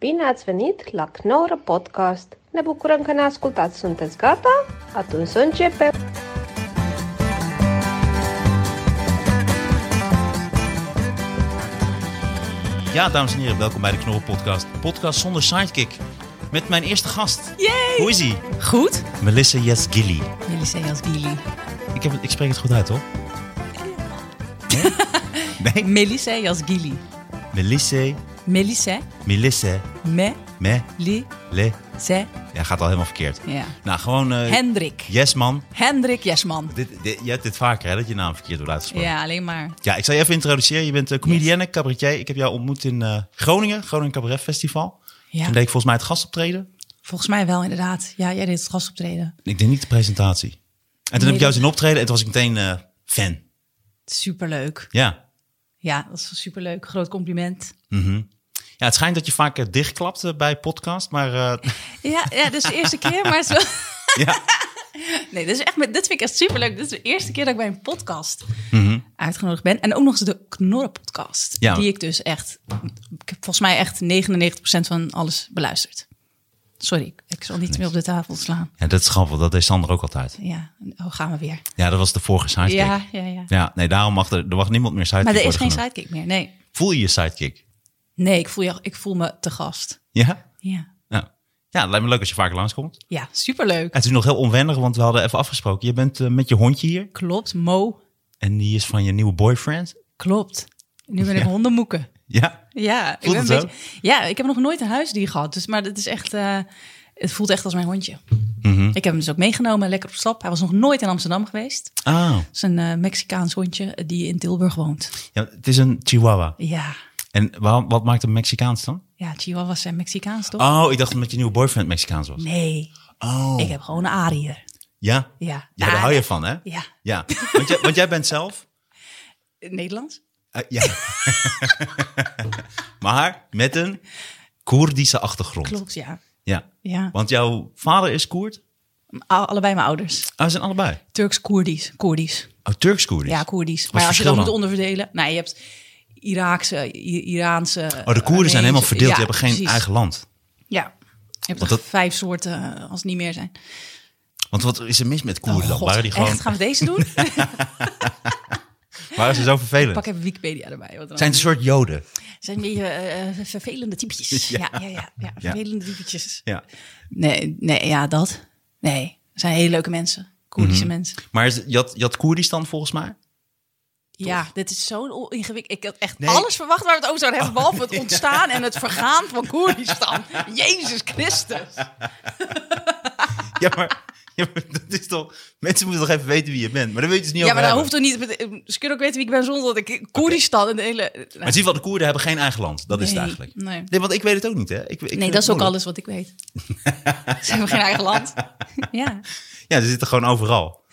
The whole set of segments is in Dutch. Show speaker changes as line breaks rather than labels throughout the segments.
Bine ați venit la Knorr Podcast! Ne bucurăm că ne ascultați! Sunteți gata? Atunci să începem!
Ja, dames en heren, welkom bij de Knorren Podcast. Podcast zonder sidekick. Met mijn eerste gast.
Yay!
Hoe is ie?
Goed.
Melissa Yesgilly.
Melissa Jasgili.
Ik, heb, ik spreek het goed uit, hoor. Nee? nee?
Melissa Jasgili.
Melissa,
Melissa.
Melissa,
Me.
me,
Li.
le.
Ze.
Ja, gaat al helemaal verkeerd.
Ja.
Nou, gewoon... eh
Hendrik.
yes, man.
Hendrik Jesman.
Dit, dit, je hebt dit vaker, hè, dat je naam verkeerd wordt uitgesproken.
Ja, alleen maar.
Ja, ik zal je even introduceren. Je bent eh, comedienne, cabaretier. Ik heb jou ontmoet in eh, Groningen, Groningen Cabaret Festival.
Ja.
Toen deed ik volgens mij het gastoptreden.
Volgens mij wel, inderdaad. Ja, jij deed het gastoptreden.
Ik deed niet de presentatie. En toen heb ik jou
dat-
zien optreden en toen was ik meteen eh, fan.
Superleuk.
Ja.
Ja, dat is superleuk. Groot compliment.
ja, het schijnt dat je vaak eh, dichtklapt eh, bij podcast, maar eh,
Ja, ja dat is de eerste keer, maar het is wel...
ja.
Nee, dit, is echt, dit vind ik echt superleuk. Dit is de eerste keer dat ik bij een podcast uitgenodigd ben. En ook nog eens de Knorren-podcast.
Mhm. Ja.
Die ik dus echt... Ik heb volgens mij echt 99% van alles beluisterd. Sorry, ik zal niet meer op de tafel slaan.
ja, dat is grappig, dat deed Sander ook altijd.
Ja, oh, gaan we weer.
Ja, dat was de vorige sidekick.
Ja,
Ja,
ja, ja.
nee, daarom mag er, er mag niemand meer sidekick
Maar er is
worden
geen
genoemd.
sidekick meer, nee.
Voel je je sidekick?
Nee, ik voel, je, ik voel me te gast.
Ja?
Ja.
ja? Ja, het lijkt me leuk als je vaker langskomt.
Ja, superleuk.
En het is nog heel onwennig, want we hadden even afgesproken. Je bent eh, met je hondje hier
Klopt, Mo.
en die is van je nieuwe boyfriend.
Klopt. Nu ben ik
Ja.
hondenmoeken.
Ja?
Ja, ik
Voelt
ben
het
een beetje- Ja, ik heb nog nooit een huisdier gehad. Dus, maar het is echt... eh, het voelt echt als mijn hondje.
Mhm.
Ik heb hem dus ook meegenomen, lekker op stap. Hij was nog nooit in Amsterdam geweest.
Ah,
Het is een eh, Mexicaans hondje eh, die in Tilburg woont.
ja, het is een chihuahua.
Ja,
En waarom, wat maakt hem Mexicaans dan?
ja Chihuahuas zijn Mexicaans, toch?
Oh, ik dacht dat met je nieuwe boyfriend Mexicaans was.
Nee,
Oh,
ik heb gewoon een Ariër.
ja? ja?
Ja. Ah,
daar hou je van, hè?
Ja.
Ja, want jij, want jij bent zelf...
Nederlands?
Eh, ja. maar met een Koerdische achtergrond.
Klopt, ja.
Ja.
Ja,
Want jouw vader is Koerd?
Al- allebei mijn ouders.
Ah, ze zijn allebei.
Turks-Koerdisch. Koerdisch.
Oh, Turks-Koerdisch?
Ja, Koerdisch.
Wat
Maar als je dat
verschil
moet
dan?
onderverdelen. Nou, je hebt Iraakse, I- Iraanse.
Oh, de Koerden
Armeense-
zijn helemaal verdeeld.
Ja,
Ze hebben geen
eh, precies.
eigen land.
Ja. Je hebt
Want
er
dat-
vijf soorten eh, als het niet meer zijn.
Want wat is er mis met Koerden dan?
Oh, God,
Waren, die gewoon,
Echt, gaan we deze doen?
waren ze zo vervelend?
Pak even Wikipedia erbij. Wat dan?
Zijn ze een soort joden?
zijn een beetje eh, vervelende typetjes. Ja, ja, ja. ja, vervelende typetjes.
Ja.
Nee, nee, ja, dat. Nee, het zijn hele leuke mensen. Koerdische
Mhm.
mensen.
Maar is- je had, je had Koerdistan volgens mij?
Ja, dit is zo ingewikkeld. Ik had echt
Nee.
alles verwacht waar we het over zouden hebben, behalve het ontstaan en het vergaan van Koerdistan. Jezus Christus.
Ja, maar... ja, maar dat is toch... Mensen moeten toch even weten wie je bent? Maar daar wil je het dus niet
Ja,
over
maar dat hoeft
hebben.
toch niet. eh, Ze kunnen ook weten wie ik ben zonder dat ik Koerdistan en de hele.
Maar in ieder geval, de Koerden hebben geen eigen land. Dat is het
Nee,
eigenlijk.
nee.
want ik weet het ook niet, hè? Ik, ik vind
nee,
het
dat is ook
moeilijk.
alles wat ik weet. Ze hebben geen eigen land. Ja,
Ja, ze zitten gewoon overal.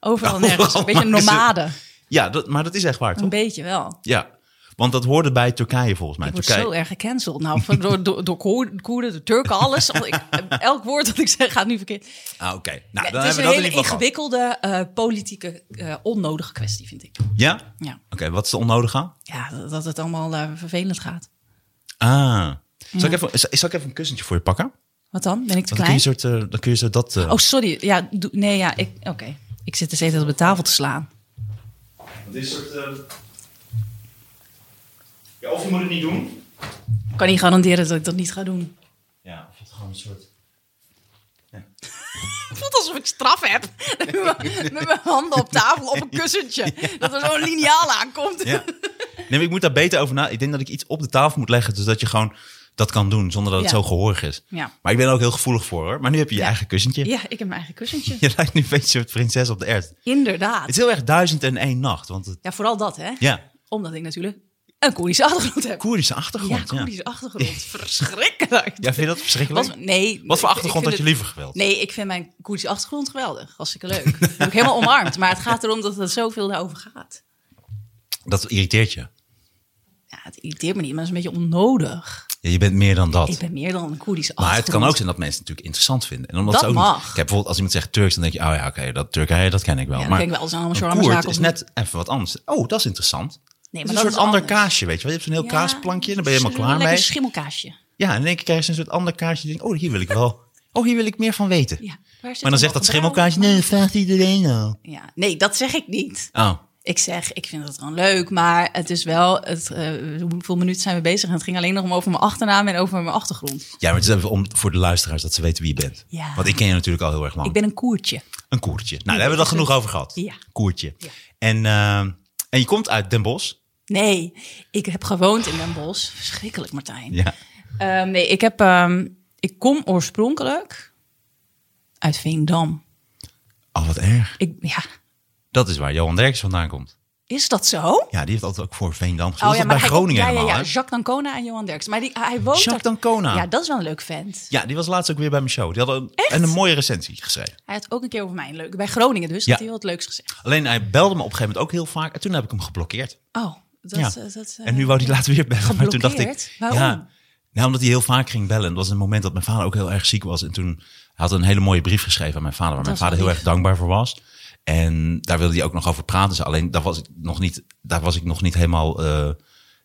overal
Overal
nergens. Een beetje
maken ze-
nomaden.
Ja, dat, maar dat is echt waar, toch?
Een beetje wel.
Ja, want dat hoorde bij Turkije volgens mij.
Ik word
Turkije.
zo erg gecanceld. Nou, van- door, door, door Koer- Koerden, de Turken, alles. Want Ik, elk woord dat ik zeg gaat nu verkeerd.
Ah, oké. Nou,
Nee,
dan
het is
hebben
een
we dat in
hele
ieder geval gehad.
ingewikkelde eh, politieke, eh, onnodige kwestie, vind ik.
Ja? Oké,
Ja.
wat is de onnodige aan?
Ja, dat, dat het allemaal eh, vervelend gaat.
Ah. Zal, ik even, zal- zal ik even een kussentje voor je pakken? Want
Wat dan? Ben ik te
Dan kun je,
klein?
soort, eh, dan kun je zo dat... eh,
Oh, sorry. Ja, doe- nee, ja, ik... Oké. Ik zit dus even op de tafel te slaan.
Dit is soort... eh, Ja, of je moet het niet doen.
Ik kan niet garanderen dat ik dat niet ga doen.
Ja, of het gewoon een soort...
Het voelt alsof ik straf heb. Met mijn handen op tafel op een kussentje. Dat er zo'n liniaal aankomt.
Ja. Nee, maar ik moet daar beter over na. Ik denk dat ik iets op de tafel moet leggen, zodat je gewoon dat kan doen, zonder dat het
Ja.
zo gehoorig is.
Ja.
Maar ik ben er ook heel gevoelig voor, hoor. Maar nu heb je je eigen kussentje.
Ja, ik heb mijn eigen kussentje.
Je lijkt nu een beetje een soort prinses op de ert.
Inderdaad.
Het is heel erg duizend en één nacht, want het,
Ja, vooral dat, hè?
ja,
Omdat ik natuurlijk een Koerdische achtergrond heb.
Koerdische
Ja,
achtergrond. Ja,
Koerdische achtergrond. Verschrikkelijk.
Ja, vind je dat verschrikkelijk?
Wat,
Wat,
nee.
voor
ik- ik
achtergrond had je
vind het-
liever gewild?
Nee, ik vind mijn Koerdische achtergrond geweldig. Hartstikke leuk. Dat heb ik helemaal omarmd. Maar het gaat erom dat het zoveel daarover gaat.
Dat irriteert je.
Ja, het irriteert me niet, maar het is een beetje onnodig.
Ja, je bent meer dan dat.
Ik ben meer dan een Koerdische
maar het
achtergrond.
kan ook zijn dat mensen het natuurlijk interessant vinden. En omdat
Dat
ze ook niet-
mag.
Kijk, bijvoorbeeld als iemand zegt Turks, dan denk je, oh ja, oké, dat Turkije, dat ken ik wel.
Ja, dan
maar
denk ik wel, zo'n
een
shawarma
Koerd
zaak
is
of-
net even wat anders. Oh, dat is interessant.
Nee,
Het is
maar
een
dat
soort
is
ander
anders.
kaasje, weet je wel. Je hebt zo'n heel
Ja,
kaasplankje en dan ben je
zo'n
helemaal klaar
Lekker
mee.
schimmelkaasje.
Ja, en in één keer krijg je een soort ander kaartje. Je denkt, oh, hier wil ik wel. Oh, hier wil ik meer van weten.
Ja, waar zit
maar dan zegt dat schimmelkaartje, nee, vraagt iedereen al.
Ja, nee, dat zeg ik niet.
Oh,
Ik zeg, ik vind het gewoon leuk, maar het is wel, het, eh, hoeveel minuten zijn we bezig? En het ging alleen nog om over mijn achternaam en over mijn achtergrond.
ja, maar het is even om, voor de luisteraars dat ze weten wie je bent.
Ja.
Want ik ken je natuurlijk al heel erg lang.
Ik ben een koertje.
Een koertje. Nou, daar hebben we het al genoeg over gehad.
Ja.
Koertje. En, eh, en je komt uit Den Bosch.
Nee, ik heb gewoond in Den Bosch. Verschrikkelijk, Martijn.
Ja.
Ehm, nee, ik, heb, ehm, ik kom oorspronkelijk uit Veendam.
Oh, wat erg.
Ik, ja,
Dat is waar Johan Derks vandaan komt.
is dat zo?
Ja, die heeft altijd ook voor Veendam gespeeld. dat is bij
hij-
Groningen
Oh, ja, ja,
helemaal,
ja,
hè?
Jacques Dancona en Johan Derks. Maar die, ah, hij woont
Jacques
daar-
D'Ancona.
Ja, dat is wel een leuk vent.
Ja, die was laatst ook weer bij mijn show. Die had een, en een mooie recensie geschreven.
Hij had ook een keer over mij een leuke, bij Groningen dus,
Ja.
dat hij heel wat leuks gezegd.
Alleen hij belde me op een gegeven moment ook heel vaak. En toen heb ik hem geblokkeerd.
Oh, dat,
Ja.
eh, dat, eh,
en nu wou hij later weer bellen. Maar toen dacht ik.
geblokkeerd? Waarom?
Ja, nou, omdat hij heel vaak ging bellen. En dat was een moment dat mijn vader ook heel erg ziek was. En toen hij had een hele mooie brief geschreven aan mijn vader. Waar
Dat
mijn
is
vader
wel
heel
lief.
erg dankbaar voor was. En daar wilde hij ook nog over praten. Dus alleen daar was ik nog niet, daar was ik nog niet helemaal. eh,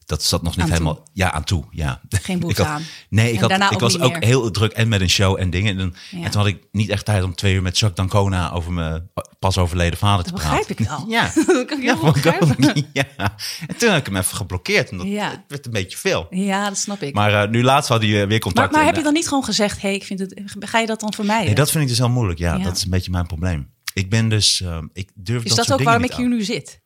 dat zat nog niet
Aan toe.
helemaal. Ja, aan toe. Ja.
Geen behoefte
ik had,
aan.
Nee, ik,
En
had,
daarna
ik
ook
was
niet
ook
meer.
heel druk en met een show en dingen. En, dan-
Ja.
en toen had ik niet echt tijd om twee uur met Jacques Dancona over mijn pas overleden vader te
Dat
praten.
begrijp ik wel.
Ja.
Dat kan ik heel goed
vond ik ook
begrijpen.
niet. Ja. En toen heb ik hem even geblokkeerd. Omdat
Ja.
Het werd een beetje veel.
Ja, dat snap ik. Maar,
Maar eh, nu laatst had hij eh, weer contact.
maar,
En,
heb je
eh,
dan niet gewoon gezegd, hey, ik vind het, ga je dat dan vermijden?
nee, dat vind ik dus heel moeilijk. Ja,
Ja.
dat is een beetje mijn probleem. Ik ben dus, ehm, ik durf
is
dat,
dat,
soort
ook
dingen
waarom
niet
ik hier nu zit?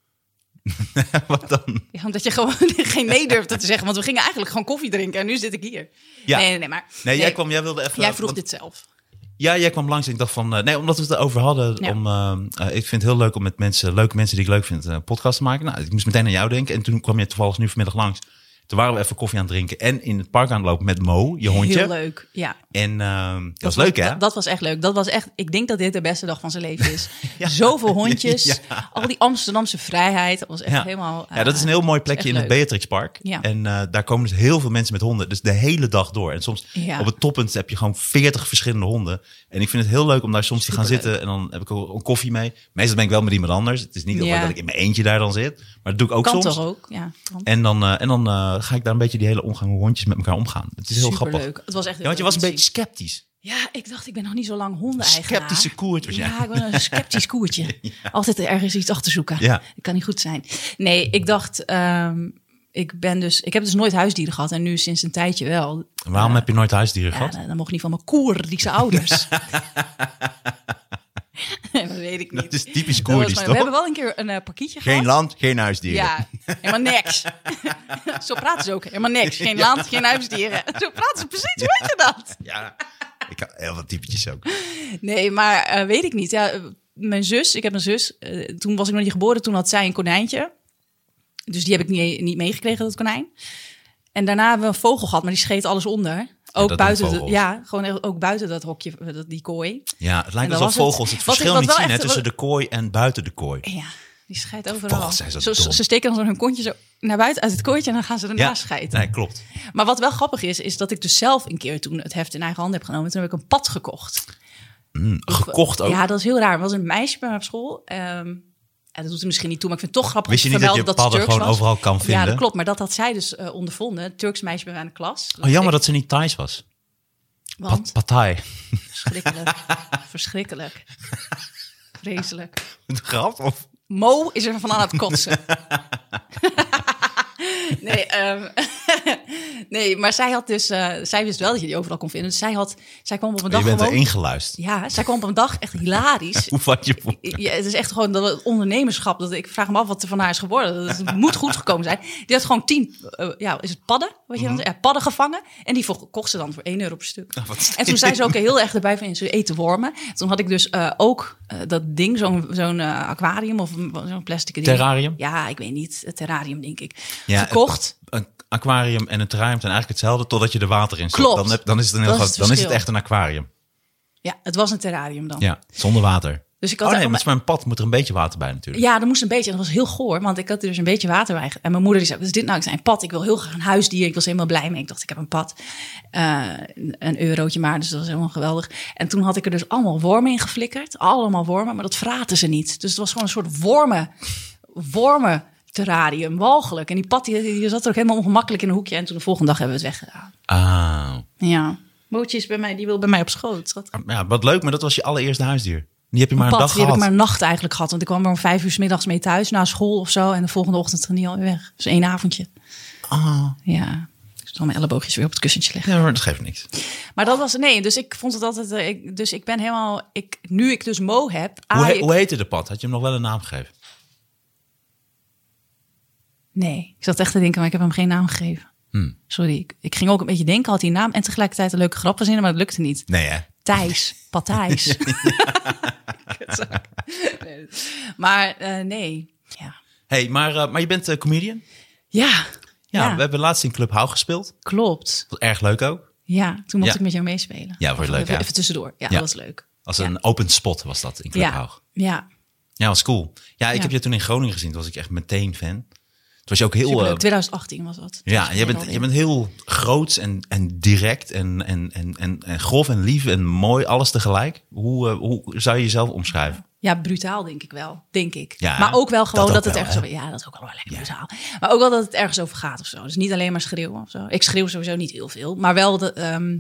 aan. Wat dan?
Ja, omdat je gewoon geen nee durfde te zeggen, want we gingen eigenlijk gewoon koffie drinken en nu zit ik hier.
Ja.
Nee, nee, nee, maar
Nee, jij
nee,
kwam, jij wilde even.
jij vroeg
want-
dit zelf.
Ja, jij kwam langs en ik dacht van, eh, nee, omdat we het erover hadden.
Ja.
Om, ehm, eh, ik vind het heel leuk om met mensen, leuke mensen die ik leuk vind, een podcast te maken. Nou, ik moest meteen aan jou denken. En toen kwam je toevallig nu vanmiddag langs. Toen waren we even koffie aan het drinken en in het park aan het lopen met Mo, je hondje.
Heel leuk, ja.
En ehm, dat, was leuk, hè?
Dat, dat was echt leuk. Dat was echt, ik denk dat dit de beste dag van zijn leven is. Zoveel hondjes,
Ja.
al die Amsterdamse vrijheid. Dat was echt helemaal... eh,
ja, dat is een heel mooi
echt
plekje in het
leuk.
Beatrixpark.
Ja.
En eh, daar komen dus heel veel mensen met honden. Dus de hele dag door. En soms
Ja.
op het toppunt heb je gewoon 40 verschillende honden. En ik vind het heel leuk om daar soms te gaan
Superleuk.
zitten. En dan heb ik ook een koffie mee. Meestal ben ik wel met iemand anders. Het is niet altijd
Ja.
dat ik in mijn eentje daar dan zit. Maar dat doe ik ook
Kan
soms.
toch ook, ja. Kan.
En dan, eh, en dan eh, ga ik daar een beetje die hele omgang hoe hondjes met elkaar omgaan. Het is heel grappig.
Superleuk. Het was echt
Ja, want je
heel
was een
leuk
beetje
om te
sceptisch.
zien. Ja, ik dacht, ik ben nog niet zo lang honden eigenlijk.
Sceptische koert was jij.
Ja, ik ben een sceptisch koertje. Altijd ergens iets achter zoeken.
Ja.
Dat kan niet goed zijn. Nee, ik dacht, ehm, ik ben dus, ik heb dus nooit huisdieren gehad en nu sinds een tijdje wel.
En waarom heb je nooit huisdieren
Ja,
gehad?
dan, dan mocht niet van mijn Koerdische ouders. dat weet ik nou, niet.
Dat is typisch
Dat was
Koerdisch,
maar-
toch?
We hebben wel een keer een eh, pakietje
Geen
gehad.
land, geen huisdieren.
Ja, helemaal niks. Zo praten ze ook. Helemaal niks. Geen land, geen huisdieren. Zo praten ze precies. Hoe weet je dat?
Ja. Ik had heel wat typetjes ook.
Nee, maar eh, weet ik niet. Ja, eh, mijn zus, ik heb een zus. eh, toen was ik nog niet geboren. Toen had zij een konijntje. Dus die heb ik niet, niet meegekregen, dat konijn. En daarna hebben we een vogel gehad, maar die scheet alles onder. Ook
doen
buiten, de-
vogels.
ja, gewoon echt ook buiten dat hokje, eh, dat, die kooi.
Ja, het
En
lijkt alsof
dan was het-
vogels het
wat ik-
verschil
wat
niet
wel
zien hè,
echt-
tussen de kooi en buiten de kooi.
En ja, die scheidt overal.
vogels zijn zo dom.
ze, ze steken dan zo hun kontje zo naar buiten uit het kooitje en dan gaan ze ernaast
Ja,
scheiden.
nee, klopt.
Maar wat wel grappig is, is dat ik dus zelf een keer toen het heft in eigen hand heb genomen. Toen heb ik een pad gekocht.
Gekocht ook.
Ja, dat is heel raar. Er was een meisje bij mij op school. ehm, en dat doet er misschien niet toe, maar ik vind het toch grappig.
Wist je
om te
niet dat je
vermelden
padden
ze Turks
gewoon
was.
overal kan
Ja,
vinden?
dat klopt. Maar dat had zij dus eh, ondervonden. Een Turks meisje bij mij aan de klas.
oh, jammer
ik-
dat ze niet Thais was. Pat,
Want,
Pattaya.
verschrikkelijk. verschrikkelijk. Vreselijk.
Grap? Of?
Mo is er van aan het kotsen. nee, ehm, nee, maar zij had dus, eh, zij wist wel dat je die overal kon vinden. Dus zij, had, zij kwam op een dag
je bent er
gewoon...
ingeluisterd.
Ja, zij kwam op een dag echt hilarisch.
Hoe vat je voor?
Ja, het is echt gewoon dat het ondernemerschap. Dat, ik vraag me af wat er van haar is geworden. Dat het moet goed gekomen zijn. Die had gewoon tien, eh, ja, is het padden? Weet je
Mhm.
dat? Ja, padden gevangen. En die vo- kocht ze dan voor 1 euro per stuk.
Oh, wat
en toen zei ze ook heel erg erbij van ze eten wormen. Toen had ik dus eh, ook eh, dat ding, zo'n zo'n eh, aquarium of een- zo'n plastic ding.
Terrarium?
Ja, ik weet niet. Het terrarium, denk ik.
Ja,
Gekocht.
Een aquarium en een terrarium zijn eigenlijk hetzelfde totdat je er water in stopt.
Klopt.
Dan, heb- dan is het een heel
Dat is
groot,
het
dan is het
verschil.
echt een aquarium.
Ja, het was een terrarium dan.
Ja, zonder water.
Dus ik
Oh
had
nee,
daar-
maar het is maar een pad moet er een beetje water bij natuurlijk.
Ja, er moest een beetje. En dat was heel goor, want ik had er dus een beetje water bij. ge- En mijn moeder die zei, wat is dit nou? Ik zei, een pad. Ik wil heel graag een huisdier. Ik was helemaal blij mee. Ik dacht, ik heb een pad. Eh, een- een eurotje maar, dus dat was helemaal geweldig. En toen had ik er dus allemaal wormen in geflikkerd. Allemaal wormen, maar dat vraten ze niet. Dus het was gewoon een soort wormen, wormen terrarium, walgelijk. En die pad die, die zat er ook helemaal ongemakkelijk in een hoekje. En toen de volgende dag hebben we het weggedaan.
Ah.
Ja. Bootje is bij mij, die wil bij mij op schoot. Wat
Ja, wat leuk, maar dat was je allereerste huisdier. Die heb je maar een,
pad,
dag
die heb
gehad.
ik maar een nacht eigenlijk gehad. Want ik kwam er om vijf uur 's middags mee thuis, na school of zo. En de volgende ochtend ging die alweer weg. Dus één avondje.
Ah,
Ja. Dus dan mijn elleboogjes weer op het kussentje leggen.
ja, maar dat geeft niks.
Maar dat was, nee, dus ik vond het altijd, eh, ik, dus ik ben helemaal, ik, nu ik dus Mo heb.
Hoe,
aai
he-
ik-
hoe heette de pad? Had je hem nog wel een naam gegeven?
Nee, ik zat echt te denken, maar ik heb hem geen naam gegeven.
Hmm.
Sorry, ik, ik ging ook een beetje denken, had hij een naam en tegelijkertijd een leuke grap verzinnen, maar dat lukte niet.
Nee, hè?
Thijs, Patijs. Kutzak. Nee. Maar eh, nee, ja.
Hey, maar, eh, maar je bent eh, comedian.
Ja,
Ja,
Ja.
we hebben laatst in Club Hou gespeeld.
klopt.
Dat was erg leuk ook.
Ja, toen mocht
Ja.
ik met jou meespelen.
Ja, was leuk,
Even,
ja.
even tussendoor. Ja,
Ja.
dat was leuk.
Als
Ja.
een open spot was dat in Club
Ja,
Hou.
ja.
Ja, was cool. Ja, ik
Ja.
heb je toen in Groningen gezien. Toen was ik echt meteen fan. Toen was je ook heel...
Superleuk.
eh,
2018 was dat. Dus
ja, je bent,
Alweer.
je bent heel groots en, en direct en, en, en, en, en grof en lief en mooi. Alles tegelijk. Hoe, eh, hoe zou je jezelf omschrijven?
Ja, brutaal denk ik wel, denk ik.
Ja,
maar ook wel gewoon
dat
dat,
ook
het
wel,
ergens
hè?
over... Ja, dat is ook wel lekker brutaal. Maar ook wel dat het ergens over gaat of zo. Dus niet alleen maar schreeuwen of zo. Ik schreeuw sowieso niet heel veel. Maar wel, de, ehm,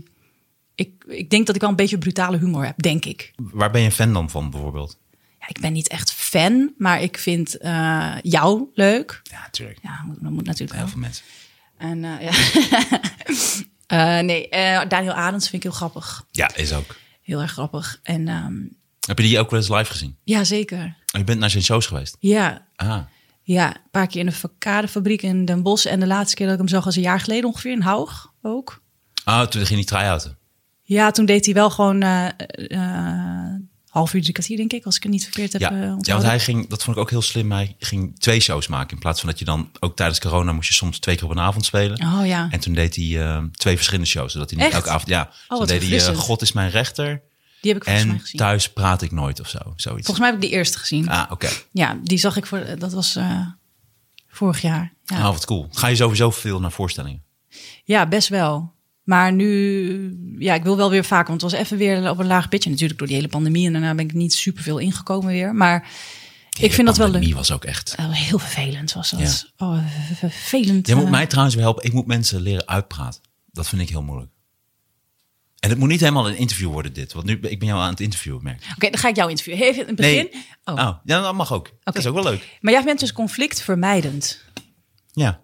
ik, ik denk dat ik wel een beetje brutale humor heb, denk ik.
Waar ben je fan dan van bijvoorbeeld?
Ja, ik ben niet echt fan, maar ik vind eh, jou leuk.
Ja, natuurlijk.
Ja, moet- dat moet natuurlijk wel.
Heel veel mensen.
En, eh, ja. Eh, nee, eh, Daniel Adams vind ik heel grappig.
Ja, is ook.
Heel erg grappig. En ehm,
Heb je die ook wel eens live gezien?
ja, zeker.
Je bent naar zijn shows geweest.
Ja,
Ah,
Ja, een paar keer in de kadefabriek in Den Bosch. En de laatste keer dat ik hem zag was een jaar geleden ongeveer in Haug ook.
ah toen ging hij try-outen.
Ja, toen deed hij wel gewoon eh eh, half uur, drie kwartier denk ik. Als ik het niet verkeerd heb
Ja.
eh,
ja, want
onthouden.
hij ging, dat vond ik ook heel slim. Hij ging twee shows maken. In plaats van dat je dan ook tijdens corona moest je soms twee keer op een avond spelen.
Oh ja.
En toen deed hij eh, twee verschillende shows. Zodat hij niet
Echt? Oh,
elke avond. Ja, toen deed
wat
hij eh,
verfrissend.
God is mijn rechter.
die heb ik volgens mij
En
gezien.
thuis praat ik nooit of zo. Zoiets.
Volgens mij heb ik die eerste gezien.
Ah, oké.
Ja, die zag ik voor, dat was eh, vorig jaar. Ja.
Ah, wat cool. Ga je sowieso veel naar voorstellingen?
ja, best wel. Maar nu, ja, ik wil wel weer vaker. Want het was even weer op een laag pitje. Natuurlijk door die hele pandemie. En daarna ben ik niet superveel ingekomen weer. Maar ik vind dat wel leuk.
Die was ook echt.
Oh, heel vervelend was dat. Oh, ver- vervelend.
Jij moet
eh.
mij trouwens weer helpen. Ik moet mensen leren uitpraten. Dat vind ik heel moeilijk. En het moet niet helemaal een interview worden dit. Want nu ben ik ben jou aan het interviewen, merk ik.
Oké, dan ga ik jou interviewen. Even in het begin.
Nee.
Oh.
Oh. ja, dat mag ook. Dat is ook wel leuk.
Maar jij bent dus conflictvermijdend.
Ja.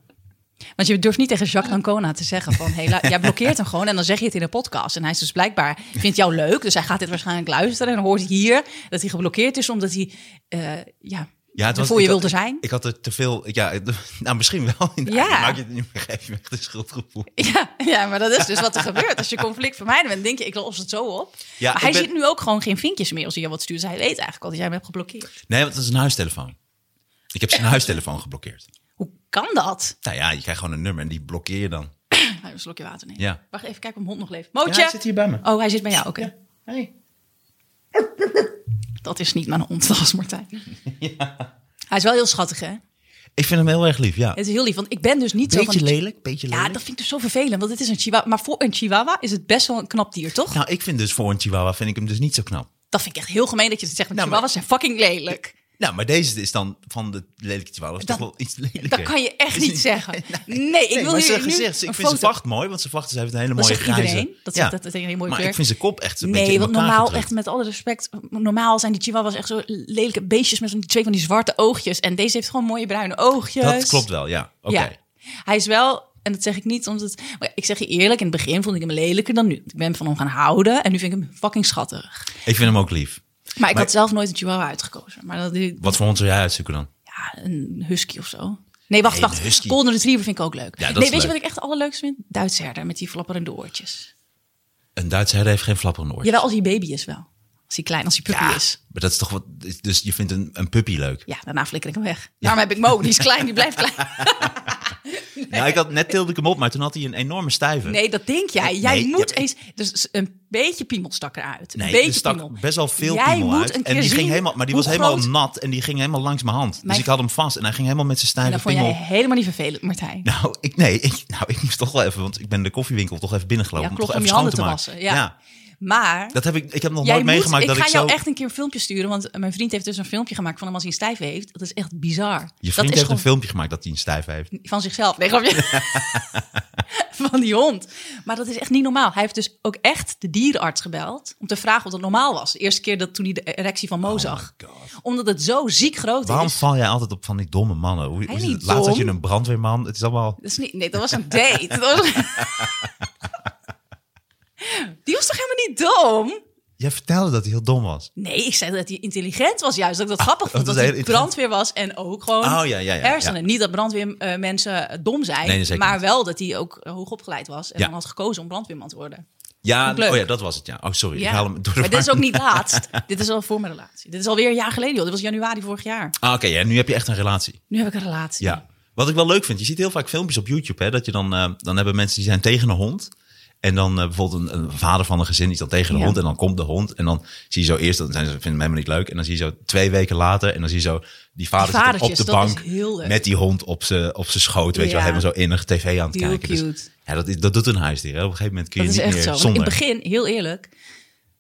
Want je durft niet tegen Jacques Lancona te zeggen van... Hey, lu- jij blokkeert hem gewoon en dan zeg je het in een podcast. En hij is dus blijkbaar, vindt jou leuk. Dus hij gaat dit waarschijnlijk luisteren. En dan hoort hij hier dat hij geblokkeerd is... omdat hij, eh ja,
Ja, het was-
voor je
ik had-
wilde zijn.
Ik had er te veel. Ja, nou, misschien wel. Ja.
Ja.
Dan maak je het niet meer geef je me echt een schuldgevoel.
Ja, ja, maar dat is dus wat er gebeurt. Als je conflictvermijdend bent, denk je... ik los het zo op.
Ja,
maar
ik
hij
ben-
ziet nu ook gewoon geen vinkjes meer als hij jou wat stuurt. Dus hij weet eigenlijk al dat jij hem hebt geblokkeerd.
Nee, want dat is een huistelefoon. Ik heb zijn huistelefoon geblokkeerd.
Hoe kan dat?
Nou ja, je krijgt gewoon een nummer en die blokkeer je dan.
Hij een slokje water nemen.
Ja.
Wacht even kijken of mijn hond nog leeft. Mootje!
hier bij me.
Oh, hij zit bij jou, oké.
Hey.
Dat is niet mijn hond, dat is Martijn. Hij is wel heel schattig, hè?
Ik vind hem heel erg lief, ja.
Het is heel lief, want ik ben dus niet zo
Beetje
van...
lelijk, beetje
Ja,
lelijk.
dat vind ik dus zo vervelend, want het is een chihuahua. Maar voor een chihuahua is het best wel een knap dier, toch?
Nou, ik vind dus voor een chihuahua vind ik hem dus niet zo knap.
Dat vind ik echt heel gemeen dat je het zegt, want
Nou, maar-
chihuahuas zijn fucking lelijk.
Nou, maar deze is dan van de lelijke chihuahua is toch wel iets lelijker.
Dat kan je echt niet zeggen. Nee, ik
Nee,
wil
maar
hier
zijn
nu
gezicht,
een
ik vind
foto.
zijn vacht mooi, want zijn vacht is- heeft een hele
Dat
mooie
zegt
grijze.
iedereen. Dat zegt dat- dat is een hele mooie
maar
kleur.
ik vind zijn kop echt een beetje
Nee,
in
want
elkaar
normaal,
gedrukt.
echt met alle respect, normaal zijn die chihuahuas echt zo lelijke beestjes met van die twee van die zwarte oogjes. En deze heeft gewoon mooie bruine oogjes.
Dat klopt wel, ja. Oké.
Ja. Hij is wel, en dat zeg ik niet omdat... Maar ik zeg je eerlijk, in het begin vond ik hem lelijker dan nu. Ik ben van hem gaan houden en nu vind ik hem fucking schattig.
Ik vind hem ook lief.
Maar ik had zelf nooit een chihuahua uitgekozen. Maar dat, ja,
Wat voor hond zou jij uitzoeken dan?
een husky of zo. Nee, wacht,
Nee, een
wacht.
husky.
Golden Retriever vind ik ook leuk.
Ja, dat
nee,
is
weet je
leuk.
wat ik echt het allerleukste vind? Duitse herder met die flapperende oortjes.
Een Duitse herder heeft geen flapperende oortjes.
Jawel, als hij baby is wel. Als hij klein, als hij puppy
Ja,
is.
maar dat is toch wat... Dus je vindt een, een puppy leuk.
Ja, daarna flikker ik hem weg. Daarom heb ik Mo, die is klein, die blijft klein.
Nou, ik had net tilde ik hem op, maar toen had hij een enorme stijve.
Nee, dat denk jij. Jij
Nee,
moet
ja,
eens... Dus een beetje piemel stak eruit. Een
Nee,
beetje
er stak
piemel.
best wel veel
Jij
piemel
moet
uit.
een
En
keer
die ging
zien
helemaal, maar die
hoe
was helemaal
groot-
nat en die ging helemaal langs mijn hand. Dus
Mijn-
ik had hem vast en hij ging helemaal met zijn
En
stijve
Nou, dat vond jij
piemel.
helemaal niet vervelend, Martijn.
Nou, ik, nee, ik, nou, ik moest toch wel even, want ik ben de koffiewinkel toch even binnengelopen.
Ja,
om toch
klopt, om
even
je
schoon
handen te
maken.
wassen, ja. Maar
Dat heb ik, ik heb nog
jij
nooit
moet-
meegemaakt
ik
dat
ga
ik zo...
jou echt een keer een filmpje sturen. Want mijn vriend heeft dus een filmpje gemaakt van hem als hij een stijf heeft. Dat is echt
Je
bizar. dat
vriend
is Oh,
heeft
gewoon
een filmpje gemaakt dat hij een stijf heeft.
van zichzelf. Nee, grapje. van die hond. Maar dat is echt niet normaal. Hij heeft dus ook echt de dierenarts gebeld om te vragen of dat normaal was. De eerste keer dat toen hij de erectie van Mo zag. Omdat het zo ziek groot
Oh Waarom
is.
val jij altijd op van die domme mannen? Hoe, hoe is
niet
het? Laatst had je
dom.
een brandweerman. Het is allemaal...
Dat is niet, nee, dat was een date. Dat was- die was toch helemaal niet dom?
Jij vertelde dat hij heel dom was.
Nee, ik zei dat hij intelligent was juist. Dat ik dat grappig
Ah,
vond.
dat
Dat,
is
hij
heel
brandweer was en ook gewoon
Oh, ja, ja, ja, ja.
hersenen. Niet dat brandweermensen dom zijn.
Nee, zeker
maar
niet.
wel dat hij ook eh, hoogopgeleid was. En
Ja.
dan had gekozen om brandweerman te worden.
Ja,
Leuk.
oh ja, dat was het. Ja. Oh, sorry. Ik
Ja.
haal hem door de
maar dit is
war.
ook niet laatst. dit is al voor mijn relatie. Dit is alweer een jaar geleden. Joh. Dit was januari vorig jaar.
Ah, Oké, ja, nu heb je echt een relatie.
Nu heb ik een relatie.
Ja. Wat ik wel leuk vind, je ziet heel vaak filmpjes op YouTube. Hè, dat je dan, eh, dan hebben mensen die zijn tegen een hond. En dan eh, bijvoorbeeld een, een vader van een gezin die is dan tegen de
Ja.
hond. En dan komt de hond. En dan zie je zo eerst, dan zijn ze, vinden hem helemaal niet leuk. En dan zie je zo twee weken later. En dan zie je zo die vader zit dan op
vadertjes,
de
dat is
bank.
heel leuk.
Met die hond op zijn op zijn schoot. Weet je wel,
Ja.
helemaal zo innig tv aan het
Heel
kijken. Dus
cute.
ja, dat, is, dat doet een huisdier. Hè. Op een gegeven moment kun je
Dat is
niet
echt
meer
zo. Want
zonder.
In het begin, heel eerlijk,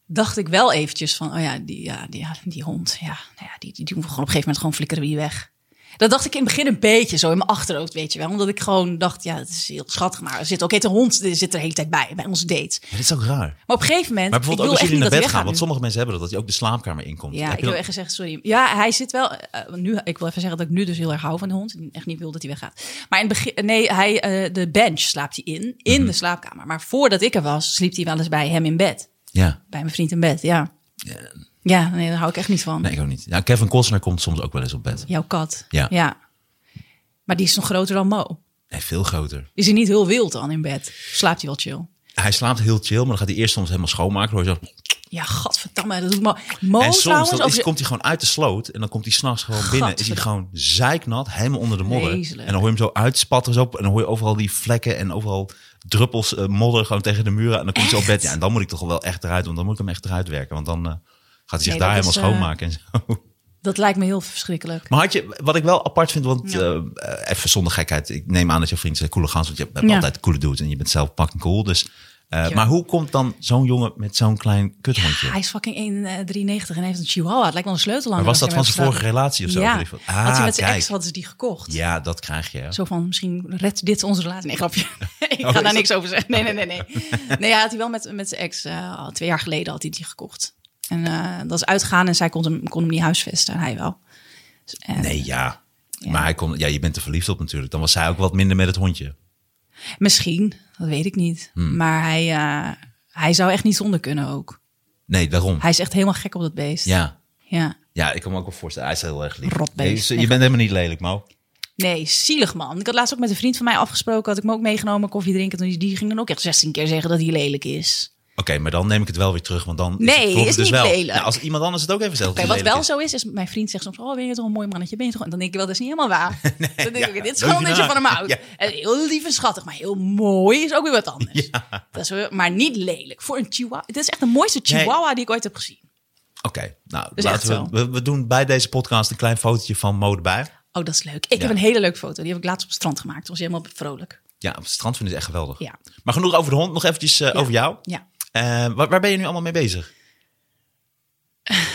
dacht ik wel eventjes van... oh ja, die, ja, die, ja, die hond, ja, nou ja die, die, die moet gewoon op een gegeven moment gewoon flikkeren wie weg. Dat dacht ik in het begin een beetje zo in mijn achterhoofd, weet je wel. Omdat ik gewoon dacht, ja, het is heel schattig, maar er zit ook echt een hond er zit er de hele tijd bij, bij onze dates.
Ja, dat is ook raar.
Maar op een gegeven moment,
Maar bijvoorbeeld
ik wil
ook als
echt
jullie
niet
naar bed
dat hij weggaat
gaan.
nu.
Want sommige mensen hebben dat, dat je ook de slaapkamer inkomt.
Ja,
Heb
ik
je
wil
dat-
echt zeggen, sorry. Ja, hij zit wel. eh, nu, ik wil even zeggen dat ik nu dus heel erg hou van de hond. En echt niet wil dat hij weggaat. Maar in het begin, nee, hij, eh, de bench slaapt hij in, in
Mhm.
de slaapkamer. Maar voordat ik er was, sliep hij wel eens bij hem in bed.
Ja.
Bij mijn vriend in bed, ja. Ja, nee, daar hou ik echt niet van.
Nee, ik ook niet. Ja, Kevin Costner komt soms ook wel eens op bed.
Jouw kat.
Ja.
Maar die is nog groter dan Mo.
Nee, veel groter.
Is hij niet heel wild dan in bed? Slaapt hij wel chill?
Hij slaapt heel chill, maar dan gaat hij eerst soms helemaal schoonmaken. Dan Hoor je zo.
Ja, gadverdamme, dat doet Mo. Mo
en soms
Oh, trouwens,
dan
ook
is-
zo-
komt hij gewoon uit de sloot en dan komt hij s'nachts gewoon binnen. Is hij
Gadverdamme.
gewoon zeiknat, helemaal onder de modder.
Vreselijk.
En dan hoor je hem zo uitspatten zo, en dan hoor je overal die vlekken en overal druppels eh, modder gewoon tegen de muren. En dan komt hij op
Echt?
bed. Ja, en dan moet ik toch wel echt eruit, want dan moet ik hem echt eruit werken. Want dan eh, gaat hij zich
Nee,
daar
dat
helemaal
is, eh,
schoonmaken en zo.
dat lijkt me heel verschrikkelijk.
Maar had je, wat ik wel apart vind, want eh, eh, even zonder gekheid. Ik neem aan dat je vrienden zijn coole gans, want je hebt
Ja.
altijd coole dudes en je bent zelf fucking cool. Dus, eh,
Ja.
Maar hoe komt dan zo'n jongen met zo'n klein kuthondje?
Ah, Hij is fucking 1,93 en heeft een chihuahua. Het lijkt wel een sleutel aan.
maar was dat van zijn vorige relatie of zo?
Ja,
Weet ik veel.
had
Ah,
hij met zijn
kijk.
ex hadden ze die gekocht.
Ja, dat krijg je. hè.
Zo van, misschien redt dit onze relatie. Nee, grapje. ik
Oh,
ga
is dat-
daar niks over zeggen. Nee, nee, nee. Nee, nee ja, had hij wel met, met zijn ex. eh, al twee jaar geleden had hij die gekocht. En eh, dat is uitgegaan en zij kon hem, kon hem niet huisvesten. En hij wel. Dus, eh,
Nee, ja. Maar hij kon, ja, je bent er verliefd op natuurlijk. Dan was hij ook wat minder met het hondje.
Misschien, dat weet ik niet.
Hmm.
Maar hij, eh, hij zou echt niet zonder kunnen ook.
Nee, daarom.
Hij is echt helemaal gek op dat beest.
Ja.
ja.
ja, ik kan me ook wel voorstellen. Hij is heel erg lief.
Rotbeest.
Je, je bent helemaal niet lelijk, Mo.
Nee, zielig man. Ik had laatst ook met een vriend van mij afgesproken. Had ik me ook meegenomen koffie drinken. Toen die- die ging dan ook echt 16 keer zeggen dat hij lelijk is.
Oké, maar dan neem ik het wel weer terug, want dan
Nee,
het, klopt
is
dus
niet
wel.
lelijk.
Nou, als iemand anders het ook even zelf
Oké, wat wel zo is, is mijn vriend zegt soms: Oh, ben je toch een mooi mannetje? Ben je toch? En dan denk ik wel, dat is niet helemaal waar. dan denk
ja,
ik, dit is
leuk
gewoon dat je
gedaan.
van hem houdt.
Ja.
En heel lief en schattig, maar heel mooi is ook weer wat anders. Dat is weer, maar niet lelijk. Voor een chihuahua. Het is echt de mooiste
Nee.
chihuahua die ik ooit heb gezien.
Oké, nou,
Dus echt
laten
zo.
we, we, we doen bij deze podcast een klein fotootje van mode bij.
Oh, dat is leuk. Ik heb een hele leuke foto. Die heb ik laatst op het strand gemaakt. Toen was hij helemaal vrolijk.
Ja, op het strand vind ik het echt geweldig.
Ja.
Maar genoeg over de hond, nog eventjes eh, over jou.
Ja.
Eh, waar, waar ben je nu allemaal mee bezig?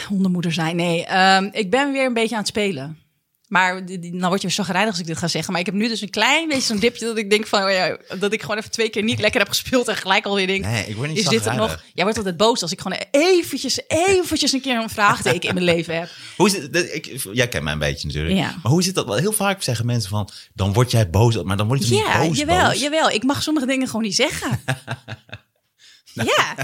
hondenmoeder zijn. Nee, ehm, ik ben weer een beetje aan het spelen. Maar die- die- nou word je weer chagrijnig als ik dit ga zeggen. Maar ik heb nu dus een klein beetje zo'n dipje dat ik denk van... oh ja, dat ik gewoon even twee keer niet lekker heb gespeeld... en gelijk alweer denk...
Nee, ik word niet
is dit het nog?
chagrijnig.
Jij wordt altijd boos als ik gewoon eventjes, eventjes een keer een vraagteken in mijn leven heb.
Hoe is het, dat- ik, jij kent mij een beetje natuurlijk.
Ja.
Maar hoe zit dat? wel? Heel vaak zeggen mensen van, dan word jij boos. Maar dan word je toch
Ja,
niet boos,
jawel,
boos?
jawel. Ik mag sommige dingen gewoon niet zeggen. Ja,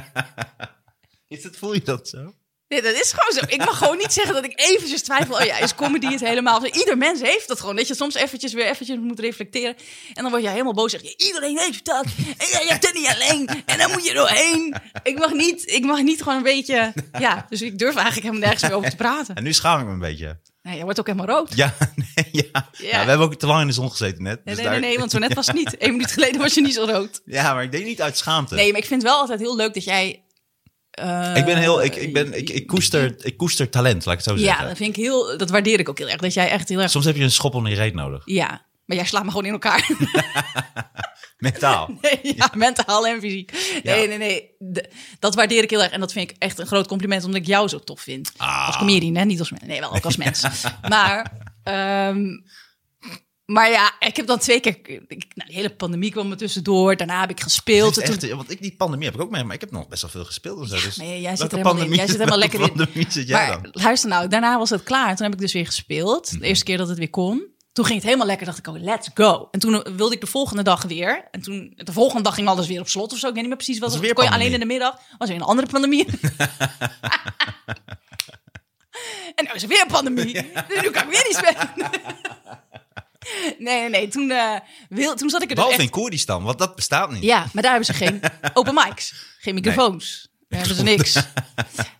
Is dat, voel je dat zo?
nee, dat is gewoon zo. Ik mag gewoon niet zeggen dat ik eventjes twijfel. Oh ja, is comedy het helemaal? Ieder mens heeft dat gewoon. Dat je soms eventjes weer eventjes moet reflecteren. En dan word je helemaal boos. Zeg je, iedereen heeft dat. En jij hebt het niet alleen. En dan moet je doorheen. Ik mag niet, ik mag niet gewoon een beetje... Ja, dus ik durf eigenlijk helemaal nergens meer over te praten.
En nu schaam ik me een beetje.
Nee, je wordt ook helemaal rood.
Ja, nee, ja. Nou, we hebben ook te lang in de zon gezeten net.
Nee,
dus
nee,
daar-
nee, nee, want zo net was het niet. Eén minuut geleden was je niet zo rood.
Ja, maar ik deed niet uit schaamte.
Nee, maar ik vind het wel altijd heel leuk dat jij... eh,
ik ben heel, ik, ik ben, ik, ik koester, ik koester talent, laat ik het zo
Ja,
zeggen.
dat vind ik heel... Dat waardeer ik ook heel erg. Dat jij echt heel erg...
Soms heb je een schop onder je reet nodig.
Ja. Maar jij slaat me gewoon in elkaar.
Mentaal.
Nee, ja, mentaal en fysiek. Nee, nee, nee. De- dat waardeer ik heel erg. En dat vind ik echt een groot compliment, omdat ik jou zo tof vind.
Ah.
Als comedian, hè? Niet als mens. Nee, wel ook als mens. Maar, ehm, maar ja, ik heb dan twee keer... Ik, nou, de hele pandemie kwam er tussendoor. Daarna heb ik gespeeld.
Het
En
is
toen-
echt, want ik, die pandemie heb ik ook mee, maar ik heb nog best wel veel gespeeld. En zo, dus
maar jij zit er
welke
helemaal in.
pandemie-
Jij zit helemaal
welke
lekker in.
pandemie zit jij
maar
dan? Mhm.
luister nou, daarna was het klaar. Toen heb ik dus weer gespeeld. De eerste keer dat het weer kon. Toen ging het helemaal lekker. Dacht ik, oh, let's go. En toen wilde ik de volgende dag weer. En toen, de volgende dag ging alles weer op slot of zo. Ik weet niet meer precies wat.
Was
het
er
was.
weer
kon je alleen
pandemie?
in de middag. Was weer een andere pandemie. en nu is er weer een pandemie. Dus nu kan ik weer niet spelen. nee, nee, nee. Toen, eh, wil, toen zat ik er dus
Behalve
echt...
in Koerdistan, want dat bestaat niet.
Ja, maar daar hebben ze geen open mics, geen microfoons. Daar hebben ze niks.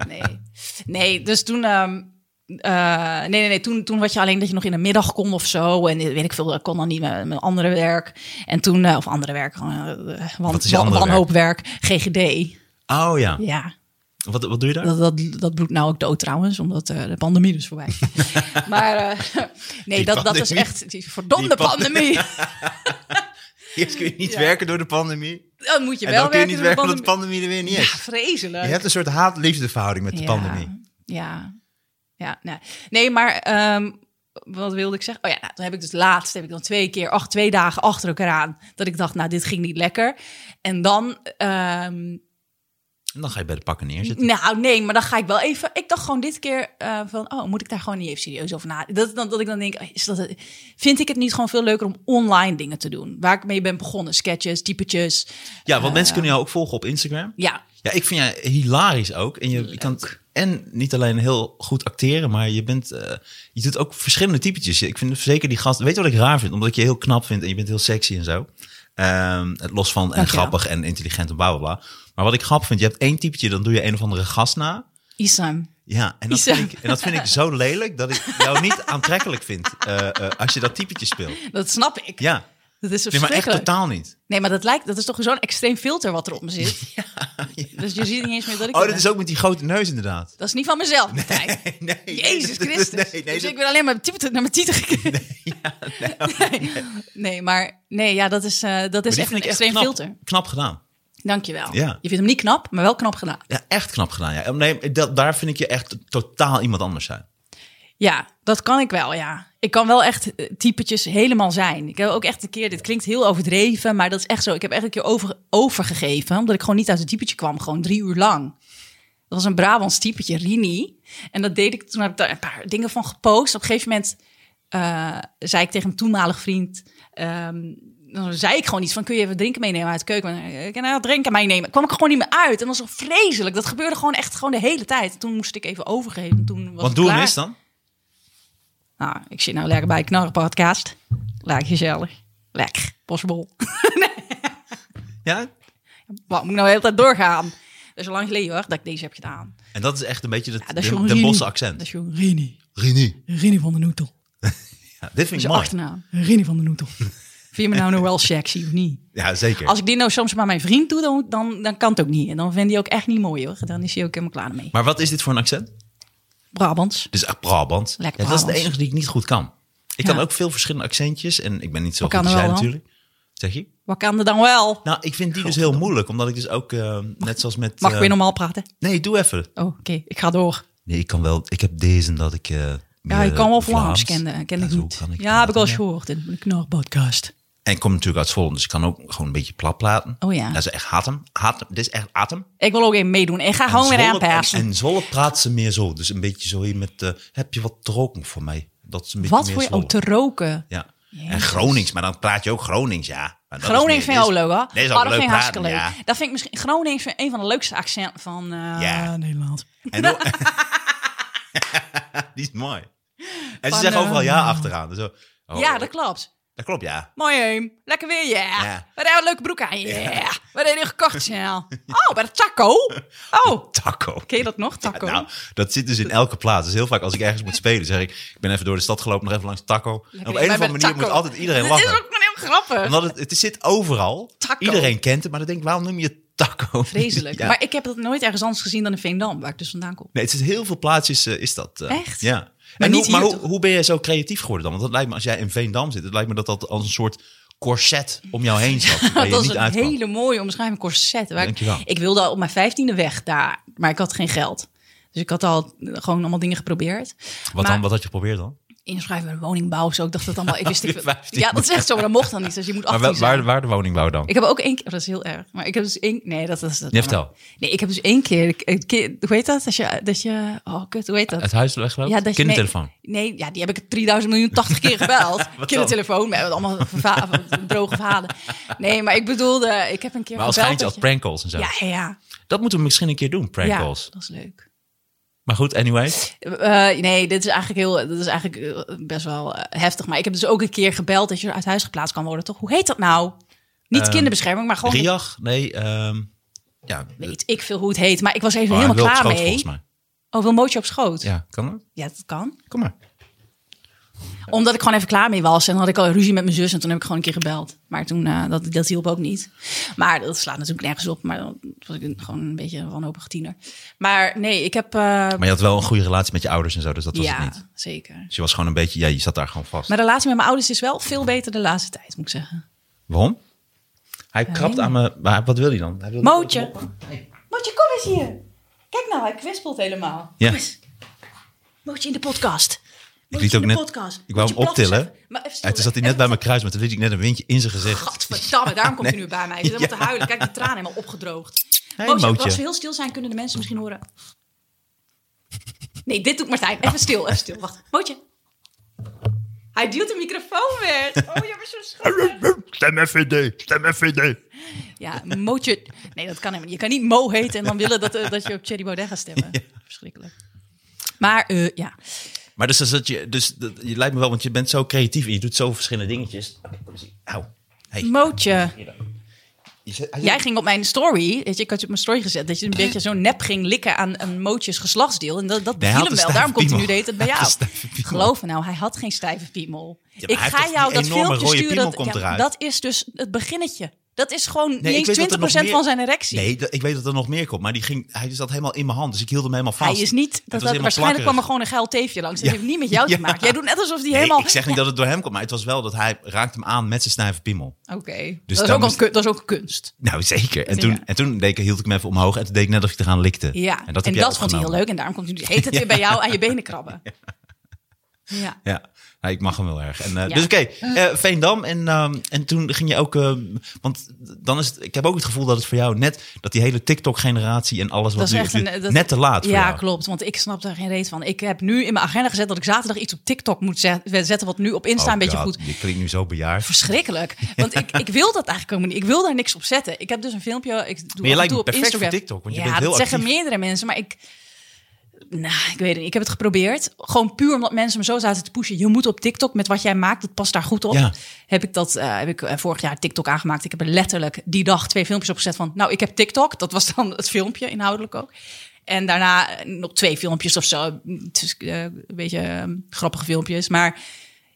Nee, nee dus toen. ehm, eh, nee, nee, nee. Toen, toen had je alleen dat je nog in de middag kon of zo. En weet ik veel, dat kon dan niet met, met andere werk. En toen, eh, of andere werk, gewoon, eh, wan,
Wat is je andere
wanhoopwerk, GGD.
Oh ja.
Ja,
Wat, wat doe je daar?
dat, dat, dat bloedt nou ook dood trouwens, omdat eh, de pandemie dus voorbij is. maar eh, nee,
Die
dat, dat is
pandemie.
echt, die verdomde
Die pand-
pandemie.
Eerst kun je niet
Ja.
werken door de pandemie.
Dan moet je
En
wel
dan kun je
werken
niet
door de
werken omdat de
pandemie.
pandemie er weer niet
Ja,
is.
vreselijk.
Je hebt een soort haat-liefde verhouding met de pandemie.
Ja, ja nee. nee, maar ehm, wat wilde ik zeggen? Oh ja, nou, toen heb ik dus laatst, heb ik dan twee keer, acht, twee dagen achter elkaar aan, dat ik dacht, nou, dit ging niet lekker. En dan, ehm,
En dan ga je bij de pakken neerzitten.
nou nee, maar dan ga ik wel even, ik dacht gewoon dit keer eh, van, oh, moet ik daar gewoon niet even serieus over na? Dat, dat, dat ik dan denk, oh, is dat, het- vind ik het niet gewoon veel leuker om online dingen te doen? Waar ik mee ben begonnen, sketches, typetjes.
Ja, want mensen kunnen jou ook volgen op Instagram.
Ja,
Ja, ik vind jij hilarisch ook. En je, je kan en niet alleen heel goed acteren, maar je bent, eh, je doet ook verschillende typetjes. Ik vind zeker die gast. Weet je wat ik raar vind? Omdat ik je heel knap vind en je bent heel sexy en zo. Ehm, het los van en
Dankjewel.
grappig en intelligent en bla bla bla. Maar wat ik grappig vind, je hebt één typetje, dan doe je een of andere gast na.
Isam.
Ja, en dat,
Isam.
vind ik, en dat vind ik zo lelijk dat ik jou niet aantrekkelijk vind eh, eh, als je dat typetje speelt.
Dat snap ik.
Ja,
Dat is zo
nee, maar echt
verschrikkelijk.
totaal niet.
Nee, maar dat lijkt, dat is toch zo'n extreem filter wat er op me zit. Dus je ziet niet eens meer dat ik.
Oh, dat
er ben.
is ook met die grote neus inderdaad.
Dat is niet van mezelf. Martijn.
Nee, dat-
Jezus
dat-
Christus.
nee, nee, dat-
dus
nou,
ik ben alleen maar type- naar mijn tieten gekeken. Nee, nee. maar nee, ja, dat is, eh, dat is
Maar
echt een
die vind ik
extreem
knap,
filter.
Knap gedaan.
Dankjewel.
Ja.
Je vindt hem niet knap, maar wel knap gedaan.
Ja, echt knap gedaan. Ja. Oh, Nee, dat, daar vind ik je echt totaal iemand anders zijn.
Ja, dat kan ik wel, ja. Ik kan wel echt eh, typetjes helemaal zijn. Ik heb ook echt een keer, dit klinkt heel overdreven, maar dat is echt zo. Ik heb echt een keer over, overgegeven, omdat ik gewoon niet uit het typetje kwam. Gewoon drie uur lang. Dat was een Brabants typetje, Rini. En dat deed ik, toen heb ik daar een paar dingen van gepost. Op een gegeven moment eh, zei ik tegen een toenmalig vriend... ehm, dan zei ik gewoon iets van, kun je even drinken meenemen uit de keuken? Ik kan nou drinken meenemen. Kwam ik er gewoon niet meer uit. En dat was zo vreselijk. Dat gebeurde gewoon echt gewoon de hele tijd. Toen moest ik even overgeven. Toen was
Want
het
doe hem
klaar.
eens dan.
Nou, ik zit nou lekker bij Knarren Podcast. Lekker gezellig. Lekker. Bosbol.
Ja?
Wat moet ik nou de hele tijd doorgaan? Dat is al lang geleden hoor, dat ik deze heb gedaan.
En dat is echt een beetje het
Ja, dat is
de,
gewoon
de
Rini.
bosse
Dat
accent.
is gewoon Rini.
Rini.
Rini van de Noetel. Dat
Ja, dit
is
vind ik
je
mooi.
achternaam. Rini van de Noetel. Vind je me nou nou wel sexy of niet?
Ja, zeker.
Als ik dit nou soms maar mijn vriend doe, dan, dan, dan kan het ook niet. En dan vindt hij ook echt niet mooi hoor. Dan is hij ook helemaal klaar mee.
Maar wat is dit voor een accent?
Brabants.
Dit is Dus echt Brabant.
Lekker
Ja, dat is de
Brabants.
enige die ik niet goed kan. Ik
Ja.
kan ook veel verschillende accentjes. En ik ben niet zo
Wat kan
goed als
er
jij
wel dan?
natuurlijk. Zeg je?
Wat kan er dan wel?
Nou, ik vind die dus heel moeilijk. Omdat ik dus ook, eh, net zoals met...
Mag ik
eh,
weer normaal praten?
Nee, doe even.
Oh, oké. Ik ga door.
Nee, ik kan wel. Ik heb deze dat ik... eh,
Ja,
meer,
ik kan wel
eh,
Vlaams
Vlaams.
kennen. Ken
Ja,
ik
zo
niet.
kan ik
ja, heb ik al eens
praten,
gehoord in de Knarren Podcast.
En ik kom natuurlijk uit Zwolle, dus ik kan ook gewoon een beetje plat praten.
Oh ja.
Dat is echt hatem. hatem. Dit is echt atem.
Ik wil ook even meedoen. Ik ga gewoon weer aanpassen.
En, en Zwolle praat ze meer zo. Dus een beetje zo hier met, eh, heb je wat te roken voor mij? Dat is een beetje
Wat
meer
voor je oh,
Zwolle.
ook te roken.
Ja. En
Jezus.
Gronings, maar dan praat je ook Gronings, ja. Maar dat is
Groningen
meer-
vind ik ook
dit is-
leuk, hoor.
Dit is
Oh,
ook
dat
leuk
vind ik
praten,
hartstikke leuk.
ja.
Dat vind ik misschien... Groningen vind ik een van de leukste accenten van eh,
Ja.
Nederland.
En dan- Die is mooi. En ze
Van,
zeggen
eh,
overal ja achteraan. Dus zo, oh,
ja, dat klopt.
dat klopt, ja.
Mooi heem. Lekker weer, yeah.
Ja.
Wat hebben we een leuke broek aan, yeah. Wat heb je gekocht, snel? Oh, bij de taco. Oh,
Taco.
ken je dat nog, taco?
Nou, dat zit dus in elke plaats. Dus heel vaak als ik ergens moet spelen, zeg ik... Ik ben even door de stad gelopen, nog even langs de taco. en op
weer
een of andere
bij de
manier moet
taco.
altijd iedereen
Dit
lachen.
is ook een heel Grappig.
Omdat het, het zit overal.
Taco.
Iedereen kent het, maar dan denk ik, waarom noem je het taco?
Vreselijk.
Ja.
Maar ik heb dat nooit ergens anders gezien dan in Veendam, waar ik dus vandaan kom.
Nee, het is heel veel plaatsjes eh, is dat. eh,
Echt?
Ja. en
niet
hoe, maar
hier
hoe,
toch?
hoe ben je zo creatief geworden dan? Want dat lijkt me, als jij in Veendam zit, het lijkt me dat dat als een soort corset om jou heen zat. waar je
dat is
niet
een
uitkwam.
hele mooie omschrijving, corset. Waar ik,
Dankjewel.
ik wilde al op mijn vijftiende weg daar, maar ik had geen geld. Dus ik had al gewoon allemaal dingen geprobeerd.
Wat,
maar-
dan, wat had je geprobeerd dan?
Inschrijven bij woningbouw, zo. Ik dacht dat allemaal. Ik wist
Op je
ik,
vijftiende.
ja, dat is echt zo, maar dat mocht dan niet. Dus je moet
Maar
18
wel,
zijn.
waar, waar de woningbouw dan?
Ik heb ook één keer, oh, dat is heel erg, maar ik heb dus één, nee, dat is dat.
Nee, vertel.
Nee, ik heb dus één keer, ik- een keer- hoe heet dat? Dat je, dat je, oh kut, hoe heet dat?
Het huis wegloopt?
Ja, dat je-
Kindertelefoon.
Nee, ja, die heb ik 3000 miljoen 80 keer gebeld.
dan?
Kindertelefoon, met allemaal verva- droge verhalen. Nee, maar ik bedoelde, ik heb een keer
Maar als
gebeld
geintje
dat
als prank calls en zo.
je- Ja, ja,
Dat moeten we misschien een keer doen,
ja.
prank
ja,
calls.
dat is leuk.
Maar goed, anyway.
Eh, nee, dit is eigenlijk heel, dit is eigenlijk eh, best wel eh, heftig. Maar ik heb dus ook een keer gebeld dat je uit huis geplaatst kan worden, toch? Hoe heet dat nou? Niet
Ehm,
kinderbescherming, maar gewoon.
Riach, nee. ehm, ja, Ah,
Weet ik veel hoe het heet, maar ik was even
oh,
helemaal
Wilco
klaar
Schoot,
mee.
volgens mij.
Oh, wil mootje op schoot? Ja.
Ja, kan dat?
dat kan.
Kom maar.
Omdat ik gewoon even klaar mee was. En dan had ik al ruzie met mijn zus. En toen heb ik gewoon een keer gebeld. Maar toen, eh, dat, dat hielp ook niet. Maar dat slaat natuurlijk nergens op. Maar dan was ik een- gewoon een beetje een wanhopige tiener. Maar nee, ik heb... eh,
Maar je had wel een goede relatie met je ouders en zo, dus dat was het
ja,
niet.
zeker.
Dus je was gewoon een beetje, ja, je zat daar gewoon vast.
Mijn relatie met mijn ouders is wel veel beter de laatste tijd, moet ik zeggen.
Waarom? Hij krabt aan me. Maar wat wil hij dan? Hij wil
Mootje. Mootje, kom eens hier. Kijk nou, hij kwispelt helemaal.
Ja.
Kom eens. Mootje in de podcast.
Ik
Mootje
liet ook
in de
net.
podcast.
Ik wou
Mootje,
hem
blaf eens
optillen.
even. Maar even stil,
En toen zat hij
even
net bij mijn kruis, maar toen liet ik net een windje in zijn gezicht.
Gadverdamme, daarom komt hij nu bij mij. Hij zit helemaal
Ja.
te huilen. Kijk, die tranen helemaal opgedroogd.
Hey,
Mootje,
Mootje.
als we heel stil zijn, kunnen de mensen misschien horen. Nee, dit doet Martijn.
Oh.
Even stil, even stil. Wacht, Mootje. Hij duwt de microfoon weg. Oh, je bent zo schattig.
Stem FVD, stem FVD.
Ja, Mootje. Nee, dat kan helemaal niet. Je kan niet Mo heten en dan willen dat, eh, dat je op Thierry Baudet gaat stemmen. Verschrikkelijk. Maar eh, ja,
Maar dus, dat je, dus dat, je lijkt me wel, want je bent zo creatief en je doet zo verschillende dingetjes. Oké, kom eens hier. Au. Hey.
Mootje.
Je zit- hij zit-
Jij ging op mijn story, weet je, ik had je op mijn story gezet, dat je een beetje zo nep ging likken aan een mootjes geslachtsdeel. En dat, dat
hij
beviel
had
hem
een
wel,
stijve
daarom komt hij nu
piemel.
deed het bij
Hij had
jou.
een stijve piemel.
Geloof me nou, hij had geen stijve piemel.
maar
ik
hij heeft
ga
toch
jou
die
dat
enorme
filmpje
rode
sturen.
piemel
dat-
komt
ja,
eruit.
dat is dus het beginnetje. Dat is gewoon
Nee, ik
niet
weet
eens
dat er
20%
nog meer-
van zijn erectie.
Nee, dat- ik weet dat er nog meer komt, maar die ging, hij zat helemaal in mijn hand, dus ik hield hem helemaal vast.
Hij is
Het
niet,
was
dat, dat,
helemaal
waarschijnlijk kwam er
plakkerig.
gewoon een geil teefje langs. Dat
Ja.
heeft niet met jou
Ja.
te maken. Jij doet net alsof hij
Nee,
helemaal...
ik zeg niet dat het door hem komt, maar het was wel dat hij raakte hem aan met zijn snijven piemel.
Oké,
Dus
dat, is
dan
ook al
is-
kun- dat is ook kunst.
Nou, zeker. En
Ja.
toen, en toen deed ik, hield ik hem even omhoog en toen deed ik net alsof ik eraan likte.
Ja, en dat,
heb jij
vond hij heel
opgenomen.
leuk. En daarom komt hij nu heet het weer bij jou aan je benen krabben. ja.
Ja, Ja, ik mag hem heel erg. En, eh,
Ja.
Dus oké, eh, Veendam. En, ehm, en toen ging je ook... ehm, want dan is het, ik heb ook het gevoel dat het voor jou net... dat die hele TikTok-generatie en alles wat
Dat
nu
is
is...
echt een- eh, dat-
net te laat voor
ja,
jou.
klopt. Want ik snap daar geen reet van. Ik heb nu in mijn agenda gezet dat ik zaterdag iets op TikTok moet zet- zetten. Wat nu op Insta
Oh
een beetje
God,
goed.
Je klinkt nu zo bejaard.
Verschrikkelijk. Want ik, ik wil dat eigenlijk helemaal niet. Ik wil daar niks op zetten. Ik heb dus een filmpje. Ik doe
Maar je
af en
lijkt
toe op
perfect
Instagram.
voor TikTok, want je
ja,
bent heel
dat zeggen
actief.
meerdere mensen. Maar ik. Nou, ik weet het niet. Ik heb het geprobeerd. Gewoon puur omdat mensen me zo zaten te pushen. Je moet op TikTok met wat jij maakt. Dat past daar goed op.
Ja.
Heb ik dat eh, heb ik eh, vorig jaar TikTok aangemaakt. Ik heb er letterlijk die dag twee filmpjes opgezet van. Nou, ik heb TikTok. Dat was dan het filmpje inhoudelijk ook. En daarna eh, nog twee filmpjes of zo. Het is, eh, een beetje eh, grappige filmpjes. Maar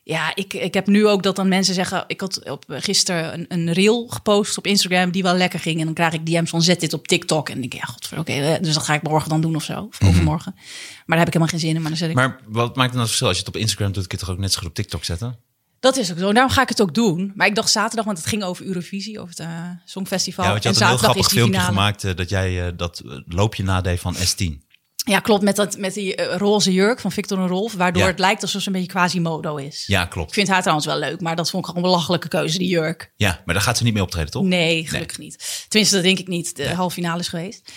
ja, ik, ik heb nu ook dat dan mensen zeggen... Ik had op, eh, gisteren een, een reel gepost op Instagram die wel lekker ging. En dan krijg ik DM's van zet dit op TikTok. En dan denk ik, ja, godver, oké. eh, dus dat ga ik morgen dan doen of zo. Of overmorgen. Maar daar heb ik helemaal geen zin in. Maar dan zet ik...
Maar wat maakt het nou het verschil? Als je het op Instagram doet, kun je het toch ook net zo goed op TikTok zetten?
Dat is ook zo. En Daarom ga ik het ook doen. Maar ik dacht zaterdag, want het ging over Eurovisie, over het eh, Songfestival.
Ja, want je
en
had een heel
zaterdag
grappig
is die
filmpje
finale.
gemaakt... eh, dat jij eh, dat eh, loopje nadeed van S10.
Ja, klopt. Met, dat, met die eh, roze jurk van Victor en Rolf. Waardoor
Ja.
het lijkt alsof ze een beetje quasi-modo is.
Ja,
Ik
klopt.
vind haar trouwens wel leuk, maar dat vond ik gewoon een belachelijke keuze, die jurk.
Ja, maar daar gaat ze niet mee optreden, toch?
Nee, gelukkig niet. Tenminste, dat denk ik niet. De halve finale is geweest.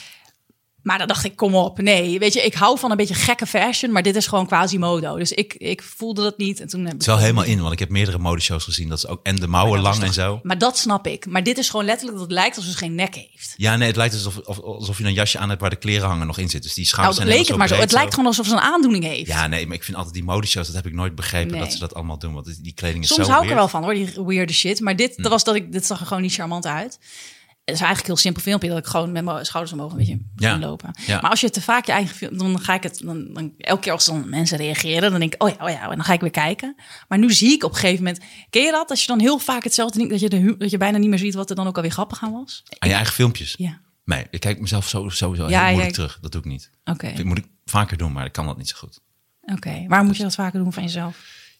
Maar dan dacht ik, kom op. Nee, weet je, ik hou van een beetje gekke fashion, maar dit is gewoon quasi-modo. Dus ik, ik voelde dat niet. En toen heb ik
Het is wel helemaal in, want ik heb meerdere modeshows gezien. Dat ze ook, en de mouwen lang en zo.
Maar dat snap ik. Maar dit is gewoon letterlijk dat het lijkt alsof ze geen nek heeft.
Ja, nee, het lijkt alsof, of- alsof je een jasje aan hebt waar de kleren hangen nog in zit. Dus die
Nou,
schouders
dat
zijn
leek het
helemaal
maar zo. Het
breed
lijkt gewoon alsof ze een aandoening heeft.
Ja, nee, maar ik vind altijd die modeshows, dat heb ik nooit begrepen
Nee.
dat ze dat allemaal doen. Want die kleding is
Soms
zo
hou ik er
weird. Mm.
wel van hoor, die weirde shit. Maar dit, dat was dat ik, dit zag er gewoon niet charmant uit. is eigenlijk een heel simpel filmpje dat ik gewoon met mijn schouders omhoog een beetje
Ja.
kan lopen.
Ja.
Maar als je te vaak je eigen film, dan ga ik het dan, dan elke keer als dan mensen reageren, dan denk ik oh ja, oh ja, en dan ga ik weer kijken. Maar nu zie ik op een gegeven moment, ken je dat? Als je dan heel vaak hetzelfde denkt, dat je de hu- dat je bijna niet meer ziet wat er dan ook alweer grappig aan was.
Aan Ah, je eigen filmpjes?
Ja,
Nee, ik kijk mezelf zo- sowieso
Ja,
heel moeilijk
ja, ik-
terug. Dat doe ik niet.
oké,
Dat moet ik vaker doen, maar ik kan dat niet zo goed.
oké. Waarom moet je dat vaker doen van jezelf?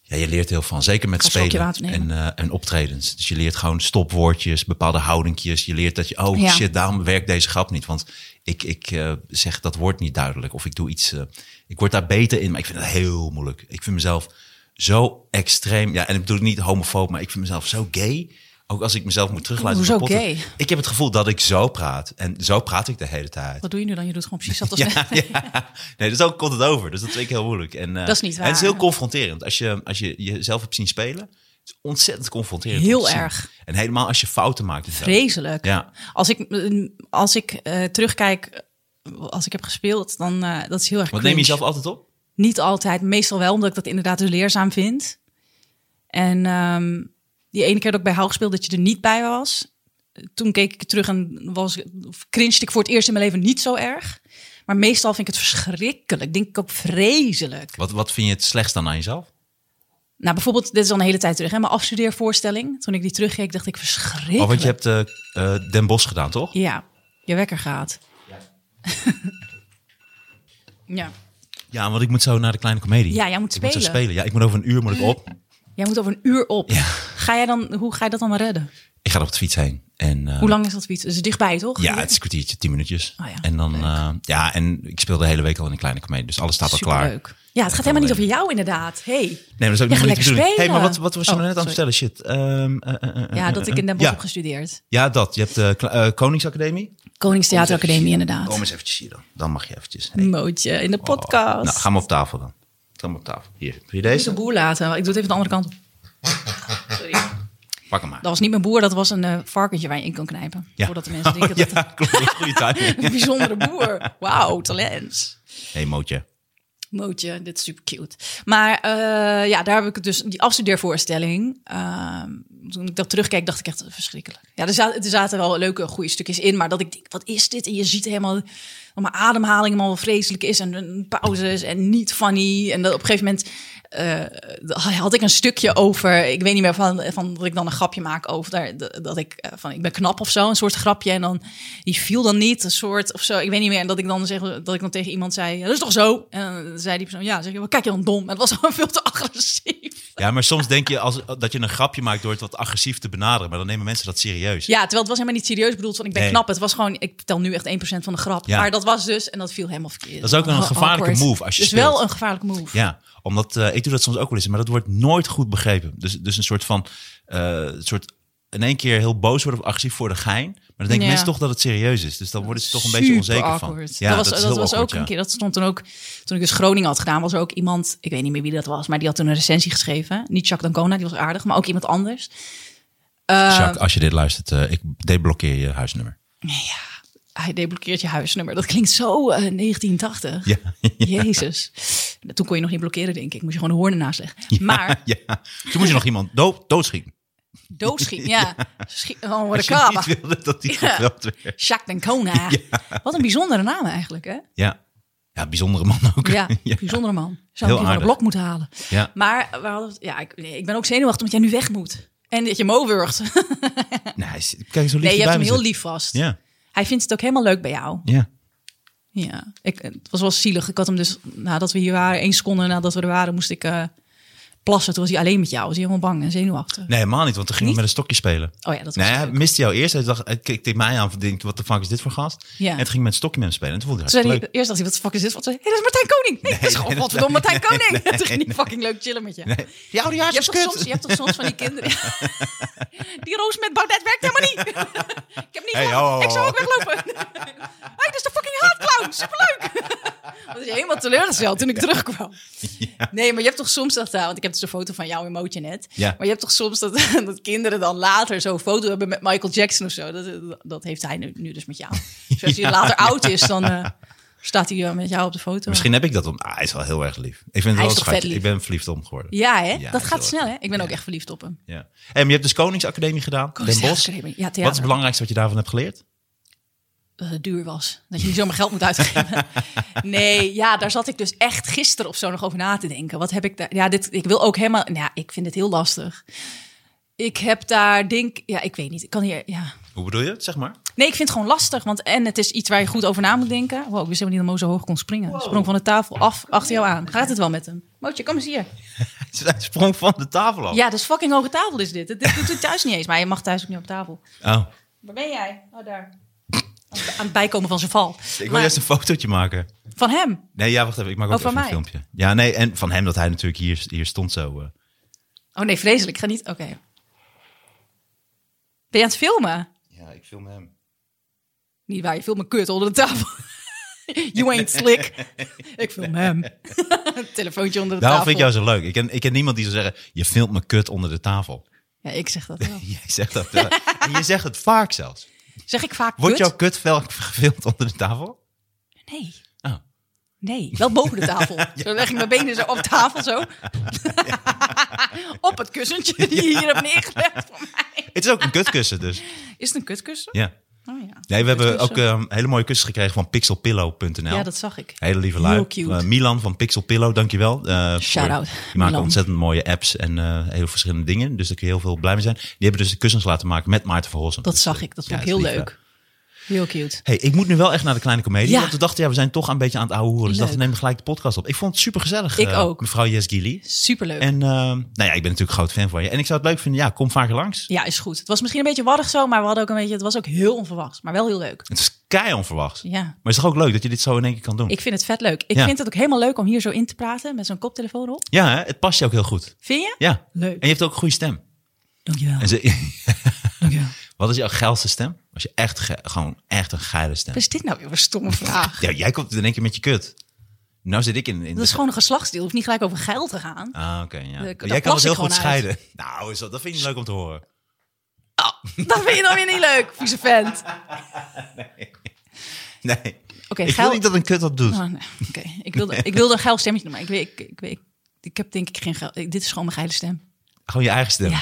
Ja, je leert heel van. Zeker met
Ga een slokje
spelen
water
en,
nemen.
eh, en optredens. Dus je leert gewoon stopwoordjes, bepaalde houdingjes. Je leert dat je, oh
Ja.
shit, daarom werkt deze grap niet. Want ik, ik eh, zeg dat woord niet duidelijk. Of ik doe iets, eh, ik word daar beter in. Maar ik vind het heel moeilijk. Ik vind mezelf zo extreem. Ja, en ik bedoel het niet homofoob, maar ik vind mezelf zo gay. Ook als ik mezelf moet terugluisteren.
Hoezo
op de podcast.
gay?
Ik heb het gevoel dat ik zo praat. En zo praat ik de hele tijd.
Wat doe je nu dan? Je doet gewoon precies dat als
Ja, ja. Nee, dus ook komt het over. Dus dat vind ik heel moeilijk. En, eh,
Dat is niet
en het is
waar.
heel confronterend. Als je, als je jezelf hebt zien spelen, het is ontzettend confronterend. om
Heel
te zien.
erg.
En helemaal als je fouten maakt. en zo.
Vreselijk.
Ja.
Als ik, als ik eh, terugkijk, eh, als ik heb gespeeld, dan eh, dat is heel erg
Want neem je
cringe.
jezelf altijd op?
Niet altijd, meestal wel, omdat ik dat inderdaad dus leerzaam vind. En ehm, die ene keer dat ik bij Hou speelde, dat je er niet bij was. Toen keek ik terug en was, cringed ik voor het eerst in mijn leven niet zo erg. Maar meestal vind ik het verschrikkelijk. Denk ik ook vreselijk.
Wat, wat vind je het slechtst dan aan jezelf? Oh,
Nou, bijvoorbeeld, dit is al een hele tijd terug, hè, mijn afstudeervoorstelling. Toen ik die terugkeek, dacht ik verschrikkelijk.
Oh, want je hebt eh eh, Den Bos gedaan, toch?
Ja, je wekker gaat. Ja.
Ja, want ik moet zo naar de kleine komedie.
Ja, jij moet
Ik moet zo
spelen.
spelen. Ja, ik moet over een uur moet ik op.
Jij moet over een uur op.
Ja.
Ga jij dan, hoe ga je dat dan redden?
Ik ga er op de fiets heen. En, eh,
Hoe lang is dat fiets? Is het dichtbij, toch?
Ja, het is een kwartiertje, tien minuutjes.
Oh ja,
en dan, eh, ja, en ik speel de hele week al in een kleine komedie. Dus alles staat al klaar.
Superleuk. Ja, het gaat helemaal niet over jou inderdaad. Hey.
Nee, maar dat is ook
Ja,
nog
ga
niet de
lekker
bedoeling.
spelen.
hey, maar wat, wat was je
Oh,
nou net aan het vertellen? Shit. Ehm, eh, eh, eh,
Ja,
eh,
dat
eh,
ik in Den
eh.
Bosch
ja,
heb gestudeerd.
Ja, dat. Je hebt de kla- eh, Koningsacademie. Oh,
Koningstheateracademie inderdaad.
Kom eens eventjes hier dan. Dan mag je eventjes. Hey.
Mootje in de podcast.
Oh. Nou, ga maar op tafel dan. Ga maar op tafel. Hier, wil je deze?
de boer laten. Ik doe het even de andere kant. op. Sorry.
Pak hem maar.
Dat was niet mijn boer, dat was een eh, varkentje waar je in kan knijpen.
Ja. Oh,
Voordat de mensen denken
ja,
dat het
klopt. Dat is goede timing.
een bijzondere boer. Wauw, talent.
hey, Mootje.
Mootje, dit is super cute. Maar eh, ja, daar heb ik het dus die afstudeervoorstelling. ehm, toen ik dat terugkeek, dacht ik echt verschrikkelijk. Ja, er zaten, er zaten wel leuke, goede stukjes in, maar dat ik denk, wat is dit? En je ziet helemaal dat mijn ademhaling helemaal vreselijk is en, en pauzes en niet funny. En dat op een gegeven moment eh, had ik een stukje over, ik weet niet meer van, van dat ik dan een grapje maak over daar, dat- dat ik eh, van ik ben knap of zo, een soort grapje. En dan die viel dan niet, een soort of zo, ik weet niet meer. En dat ik dan zeg, dat ik dan tegen iemand zei, ja, dat is toch zo? En dan zei die persoon, ja, zeg je, wat kijk je dan dom? En dat was gewoon veel te agressief.
Ja, maar soms denk je als, dat je een grapje maakt door het wat agressief te benaderen. Maar dan nemen mensen dat serieus.
Ja, terwijl het was helemaal niet serieus bedoeld van ik ben
Nee.
knap. Het was gewoon, ik vertel nu echt 1% van de grap.
Ja.
Maar dat was dus, en dat viel helemaal verkeerd.
Dat is ook een gevaarlijke move als je
Dus
speelt.
wel een gevaarlijke move.
Ja, omdat eh, ik doe dat soms ook wel eens, maar dat wordt nooit goed begrepen. Dus, dus een soort van, eh, een soort in één keer heel boos worden of agressief voor de gein. Maar dan denken
Ja.
mensen toch dat het serieus is. Dus dan worden ze toch een beetje
Super
onzeker
awkward.
van. Ja,
dat was,
is
dat
heel
was
awkward,
ook een
ja.
keer. Dat stond toen ook. Toen ik dus Groningen had gedaan, was er ook iemand. Ik weet niet meer wie dat was, maar die had toen een recensie geschreven. Niet Jacques Dancona, die was aardig, maar ook iemand anders.
Jacques, als je dit luistert, eh, ik deblokkeer je huisnummer.
Hij deblokkeert je huisnummer. Dat klinkt zo eh, 1980.
Ja,
Jezus. Toen kon je nog niet blokkeren, denk ik. Moest je gewoon een hoorn ernaast leggen. Maar
ja. Toen moet je nog iemand dood, doodschieten.
doodschieten, ja. Schiet, oh, wat
Als
een
je
kaba.
niet wilde dat die
Ja.
gedood werd.
Jacques Dancona. Wat een bijzondere naam eigenlijk, hè?
Ja. ja, bijzondere man ook.
Ja,
ja.
bijzondere man.
Heel
Zou ik die van
aardig.
de blok moeten halen.
Ja.
Maar eh, we hadden, het- ja, ik, nee, ik ben ook zenuwachtig omdat jij nu weg moet. En dat je hem overwurgt.
Nou, hij is- kijk, zo lief
Nee, je
erbij
hebt hem heel
zit.
lief vast.
Ja,
Hij vindt het ook helemaal leuk bij jou.
ja.
Ja, ik, het was wel zielig. Ik had hem dus, nadat we hier waren, één seconde nadat we er waren, moest ik eh, plassen. Toen was hij alleen met jou. Was hij helemaal bang en zenuwachtig.
Nee, helemaal niet, want dan ging hij met een stokje spelen.
Oh ja, dat was
Nee, hij
leuk.
Nou miste jou eerst. Hij dacht, hij keek tegen mij aan. van, Denk, wat de fuck is dit voor gast?
Ja.
En toen ging ik met een stokje met hem spelen. En toen vond hij
Toen
het
zei hij,
leuk.
eerst dacht hij, wat de fuck is dit? Wat, hey, dat is Martijn Koning. Nee, dat is gewoon
nee, dat-
godverdomme Martijn
nee,
Koning.
nee,
Toen ging hij fucking leuk chillen met je.
Die oude
Je hebt, toch soms, je hebt toch soms van die kinderen. die roos met Baudet werkt helemaal niet. ik heb niet
Hey,
gelopen.
ho, ho,
Ik zou
ho.
ook weglopen. hey, dat is de fucking haatclown. Superleuk. Dat is helemaal teleurgesteld toen ik terugkwam. Nee, maar je hebt toch soms dat... eh, want ik heb dus een foto van jou in Mootje net.
Ja.
Maar je hebt toch soms dat, dat kinderen dan later zo'n foto hebben met Michael Jackson of zo. Dat, dat heeft hij nu, nu dus met jou. Dus als hij later oud is, dan... eh, staat hij eh, met jou op de foto.
Misschien heb ik dat om. Ah, hij is wel heel erg lief. Ik vind het
Hij
wel
is
een
toch
schatje.
vet lief?
Ik ben verliefd om geworden. Ja.
Ja, hè?
Ja,
dat gaat
zo.
snel, hè? Ik ben
Ja.
ook echt verliefd op hem.
En je hebt dus Koningsacademie gedaan. Den Bosch.
Ja, theater.
Wat is het belangrijkste wat je daarvan hebt geleerd?
dat het duur was. Dat je niet zomaar geld moet uitgeven. nee, ja, daar zat ik dus echt gisteren of zo nog over na te denken. Wat heb ik daar? Ja, dit, ik wil ook helemaal. nou Ja, ik vind het heel lastig. Ik heb daar, denk ja, ik weet niet. Ik kan hier, ja.
Hoe bedoel je het, zeg maar?
Nee, ik vind het gewoon lastig. Want en het is iets waar je goed over na moet denken. Wow, ik wist helemaal niet dat Mo zo hoog kon springen. Sprong van de tafel af, achter jou aan. Gaat het wel met hem? Mootje, kom eens hier.
Hij sprong van de tafel af.
Ja, dus fucking hoge tafel is dit. Dit dit doet hij thuis niet eens. Maar je mag thuis ook niet op tafel.
Oh,
Waar ben jij? Oh, daar. Aan het- Aan het bijkomen van zijn val.
ik wil
Maar-
juist een fotootje maken.
Van hem.
Nee, ja, wacht even. Ik maak ook
Oh, van
even een
mij?
filmpje. Ja, nee, en van hem dat hij natuurlijk hier, hier stond zo. eh.
Oh nee, vreselijk. Ik ga niet. Oké. Ben je aan het filmen?
Ja, ik film hem.
Niet waar, je filmt kut onder de tafel. you ain't slick. ik film hem. Telefoontje onder
Daarom
de tafel.
vind ik jou zo leuk. Ik ken, ik ken niemand die zou zeggen, je filmt me kut onder de tafel.
Ja, ik zeg dat wel.
Jij zegt dat wel. en je zegt het vaak zelfs.
Zeg ik vaak
Wordt
kut?
jouw kut wel gefilmd onder de tafel?
Nee.
Oh.
Nee, wel boven de tafel. Zo leg ik mijn benen zo op tafel zo. op het kussentje die je hier hebt neergelegd voor mij.
Het is ook een kutkussen dus.
Is het een kutkussen?
Ja.
Oh ja.
Nee, we hebben ook
Kutkussen.
eh, hele mooie kussens gekregen van pixelpillow.nl.
Ja, dat zag ik.
Hele lieve lui.
Heel cute.
Eh, Milan van Pixel Pillow, dankjewel. Eh,
Shout-out,
voor- Die maken
Milan.
ontzettend mooie apps en eh, heel verschillende dingen. Dus daar kun je heel veel blij mee zijn. Die hebben dus de kussens laten maken met Maarten van Rossum. Dus, eh,
Dat zag ik. Dat
Ja,
vond ik
is
heel
lief, hè.
leuk. Heel cute.
hey, ik moet nu wel echt naar de kleine comedie.
Ja.
Want we dachten, ja, we zijn toch een beetje aan het oude horen. Dus
Leuk.
dachten, we nemen gelijk de podcast op. Ik vond het super gezellig.
Ik ook.
Mevrouw Jesgili.
Superleuk.
En eh, nou ja, ik ben natuurlijk groot fan van je. En ik zou het leuk vinden, ja, kom vaker langs.
Ja, is goed. Het was misschien een beetje warrig zo, maar we hadden ook een beetje, het was ook heel onverwachts, maar wel heel leuk.
Het is kei onverwachts.
Ja.
Maar het is toch ook leuk dat je dit zo in één keer kan doen?
Ik vind het vet leuk. Ik
Ja.
vind het ook helemaal leuk om hier zo in te praten met zo'n koptelefoon op.
Ja, hè? het past je ook heel goed.
Vind je?
Ja.
Leuk.
En je hebt ook een goede stem.
Dankjewel.
En ze,
Dankjewel.
Wat is jouw geilste stem? Als je echt ge- gewoon echt een geile stem.
Wat is dit nou weer voor een stomme vraag?
Ja, jij komt in één keer met je kut. Nou zit ik in. in
Dat is gewoon een geslachtsdeel. Hoeft niet gelijk over geil te gaan.
Ah, oké. ja.
daar
jij kan het
plas
heel
ik
goed
gewoon uit.
scheiden. Nou, is dat, dat vind je leuk om te horen.
Dat vind je dan weer niet leuk, vieze vent. Oké,
Nee. ik
geil.
wil niet dat een kut dat doet.
Oh, nee. Oké, ik wilde, ik wilde een geil stemmetje doen, maar ik weet, ik, ik, weet, ik heb denk ik geen geil. ik- Dit is gewoon mijn geile stem.
Gewoon je eigen stem.
Ja.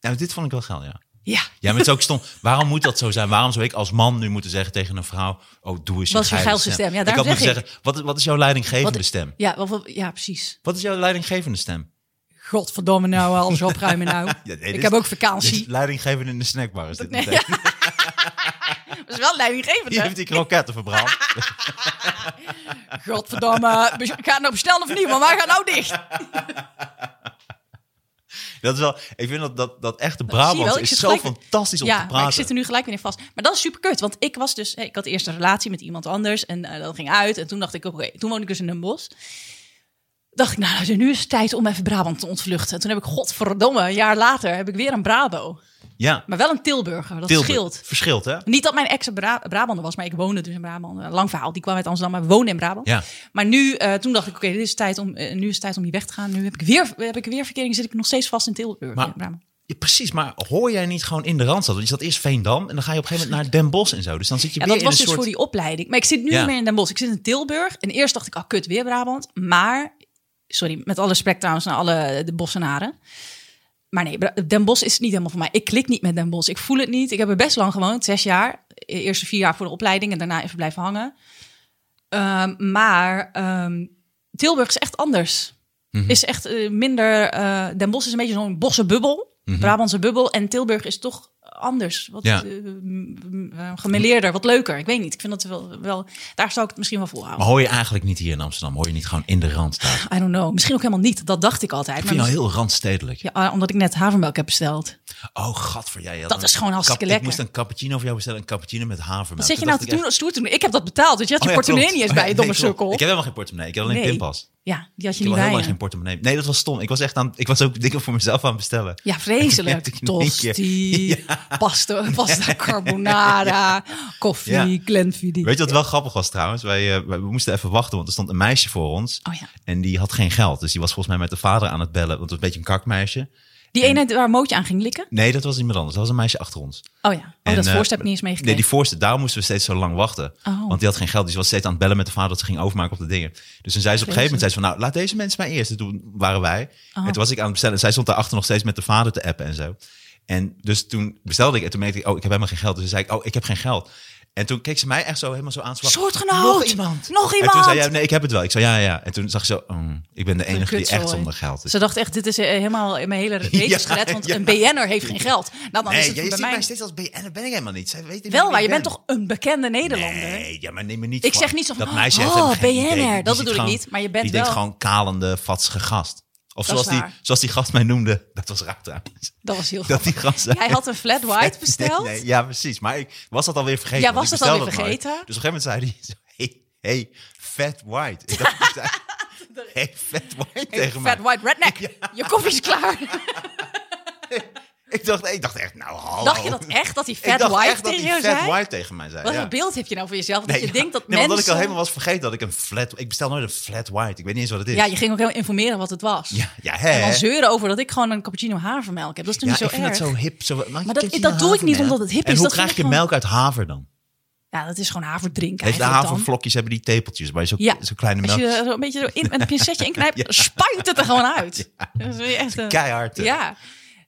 Nou, dit vond ik wel geil, ja.
Ja.
Ja, maar het is ook stom. Waarom moet dat zo zijn? Waarom zou ik als man nu moeten zeggen tegen een vrouw... Oh, doe eens je
Wat is je
geile
geilste stem? Ja,
ik had
daarom
moeten
zeg ik.
zeggen, wat, wat is jouw leidinggevende
Wat-
stem?
Ja, wel- wel- ja, precies.
Wat is jouw leidinggevende stem?
Godverdomme nou, alles opruimen nou.
Ja, nee, dit
ik
is-
heb ook
Dit is
vakantie.
Leidinggevende in de snackbar is dit
Nee,
meteen.
Dat is wel leidinggevend,
Je
hè?
heeft die kroketten verbrand.
Godverdomme, bes- ga nou bestellen of niet, maar wij gaan nou dicht.
Dat is wel, ik vind dat, dat, dat echte
Zie je wel,
Brabant
ik
is
zit
zo
gelijk-
fantastisch om
ja,
te
maar ik
praten.
zit er nu gelijk weer in vast. Maar dat is super kut, want ik was dus... hé, ik had eerst een relatie met iemand anders en eh, dat ging uit. En toen dacht ik, oké, toen woonde ik dus in Den Bosch. Dacht ik, nou, nu is het tijd om even Brabant te ontvluchten. En toen heb ik, godverdomme, een jaar later heb ik weer een Brabo.
Ja,
Maar wel een Tilburger, dat
Tilburg.
scheelt.
Verschilt, hè?
Niet dat mijn ex een Bra- Brabander was, maar ik woonde dus in Brabant. Een Lang verhaal, die kwam uit Amsterdam, maar woonde in Brabant.
Ja.
Maar nu, eh, toen dacht ik, oké, dit is tijd om, eh, nu is het tijd om hier weg te gaan. Nu heb ik weer, heb ik weer verkering, zit ik nog steeds vast in Tilburg.
Maar-
in Brabant.
Ja, precies, maar hoor jij niet gewoon in de Randstad? Want je zat eerst Veendam en dan ga je op een gegeven moment naar Den Bosch en zo. Dus dan zit je
Ja,
weer in
dat
een
was dus
soort...
voor die opleiding. Maar ik zit nu
Ja.
niet meer in Den Bosch, ik zit in Tilburg. En eerst dacht ik, ah, kut, weer Brabant. Maar, sorry, met alle respect trouwens naar alle de Bossenaren. Maar nee, Bra- Den Bosch is het niet helemaal voor mij. Ik klik niet met Den Bosch. Ik voel het niet. Ik heb er best lang gewoond, zes jaar. E- Eerste vier jaar voor de opleiding en daarna even blijven hangen. Ehm, maar ehm, Tilburg is echt anders.
Mhm.
Is echt eh, minder. eh, Den Bosch is een beetje zo'n bossenbubbel, Brabantse bubbel. En Tilburg is toch anders. Wat
Mhm. Ja.
eh, m- m- eh, gemêleerder, wat leuker. Ik weet niet. Ik vind dat wel. wel daar zou ik het misschien wel
Maar
volhouden.
hoor je eigenlijk niet hier in Amsterdam? Hoor je niet gewoon in de Randstad? Ik
I don't know. Misschien ook helemaal niet. Dat dacht ik altijd.
vind nou
Maar
jou heel randstedelijk.
misschien- ja, ah, omdat ik net havermelk heb besteld.
Oh, gadver, jij had
Dat
een
is gewoon hartstikke
kap-
lekker.
Ik moest een cappuccino voor jou bestellen, een cappuccino met havermelk.
Wat zit je
Toen
nou te
dacht
doen?
ik echt-
Stoer te doen. Ik heb dat betaald. Dat je had
Oh
je
ja,
portemonnee
klopt.
niet eens
Oh ja,
bij je domme
nee, klopt.
sukkel.
Ik heb helemaal geen portemonnee, ik heb alleen
Nee.
pinpas.
Ja, die had je
Ik heb
niet
wel
bij
helemaal
je.
geen portemonnee. Nee, dat was stom. Ik was echt aan, ik was ook dingen voor mezelf aan het bestellen.
Ja,
Ik
vreselijk.
merkte het in één keer.
Tosti, pasta, pasta carbonara, koffie,
Ja.
glenfiddich.
Weet je wat wel grappig was trouwens? Wij, eh, wij- we moesten even wachten, want er stond een meisje voor ons.
Oh ja.
En die had geen geld. Dus die was volgens mij met de vader aan het bellen. Want het was een beetje een kakmeisje.
Die ene waar Mootje aan ging likken?
Nee, dat was iemand anders. Dat was een meisje achter ons.
Oh ja. Oh,
En,
dat
eh,
voorstel heb ik niet eens
Nee,
meegekregen.
die voorste, daar moesten we steeds zo lang wachten.
Oh.
Want die had geen geld. Dus ze was steeds aan het bellen met de vader dat ze ging overmaken op de dingen. Dus toen zei ze op een gegeven moment, zei ze van, nou, laat deze mensen maar eerst. En toen waren wij.
Oh.
En toen was ik aan het bestellen. En zij stond daarachter nog steeds met de vader te appen en zo. En dus toen bestelde ik. En toen merkte ik, oh, ik heb helemaal geen geld. Dus toen zei ik, oh, ik heb geen geld. En toen keek ze mij echt zo helemaal zo aan. Ze was,
Soortgenoot!
Nog iemand!
Nog
En toen
iemand!
zei jij, nee, ik heb het wel. Ik zei, ja, ja, ja. En toen zag ze, zo, oh, ik ben de enige die echt
kutzooi.
zonder geld is.
Ze dacht echt, dit is eh, helemaal in mijn hele reet
Ja,
gered, want
ja.
een BN'er heeft geen geld. Nou, dan is
Nee,
het
jij
bij
ziet mij
mij
steeds als BN. Dat ben ik helemaal niet. Zij weet niet
wel
wie
waar.
ik
Je bent
ben.
toch een bekende Nederlander?
Nee, ja, maar neem me niet
Ik
van-
zeg niet zo van,
dat meisje heeft
oh,
helemaal geen
BN'er.
idee. Die
Dat
ziet
bedoel ik
gewoon-
niet, maar je bent
die denkt
wel-
gewoon kalende, vatsige gast. Of
Dat is
zoals die,
waar.
zoals die gast mij noemde, dat was raar trouwens.
Dat was heel
Dat
grappig.
die gast
Hij had een flat white besteld.
Nee, nee, ja, precies. Maar ik was dat alweer vergeten.
Ja,
want
was
ik
dat alweer
bestelde het nooit.
vergeten?
Dus op een gegeven moment zei hij, zo, hey, hey, fat white. Ik dacht, hij zei, hey, fat white tegen
Fat
mij.
white redneck. Je koffie is klaar.
Ik dacht, ik dacht echt, nou hallo.
Dacht je dat echt, dat hij fat
ik dacht
white
echt dat
tegen
hij
jou
fat
zei?
white tegen mij zei.
Wat
ja.
een beeld heb je nou voor jezelf? Dat
Nee,
je
ja.
denkt dat
nee,
mensen...
omdat ik al helemaal was vergeten dat ik een flat... Ik bestel nooit een flat white. Ik weet niet eens wat het is.
Ja, je ging ook heel informeren wat het was.
Ja, ja, hè?
En dan zeuren over dat ik gewoon een cappuccino havermelk heb. Dat is
ja,
natuurlijk
ik
zo
vind
erg.
dat zo hip. Zo, maar
dat- dat doe ik niet omdat het hip
en
is,
hoe
dat
krijg
vind
je
ik gewoon-
melk uit haver dan?
Ja, dat is gewoon haverdrinken
Heeft de
eigenlijk dan.
havervlokjes hebben die tepeltjes, maar zo,
Ja.
zo kleine
Als
melk.
je zo een beetje zo in, met een pincetje inknijpt,
Ja.
spuit het er gewoon uit. Dat is echt een-
Keihard. eh.
Ja.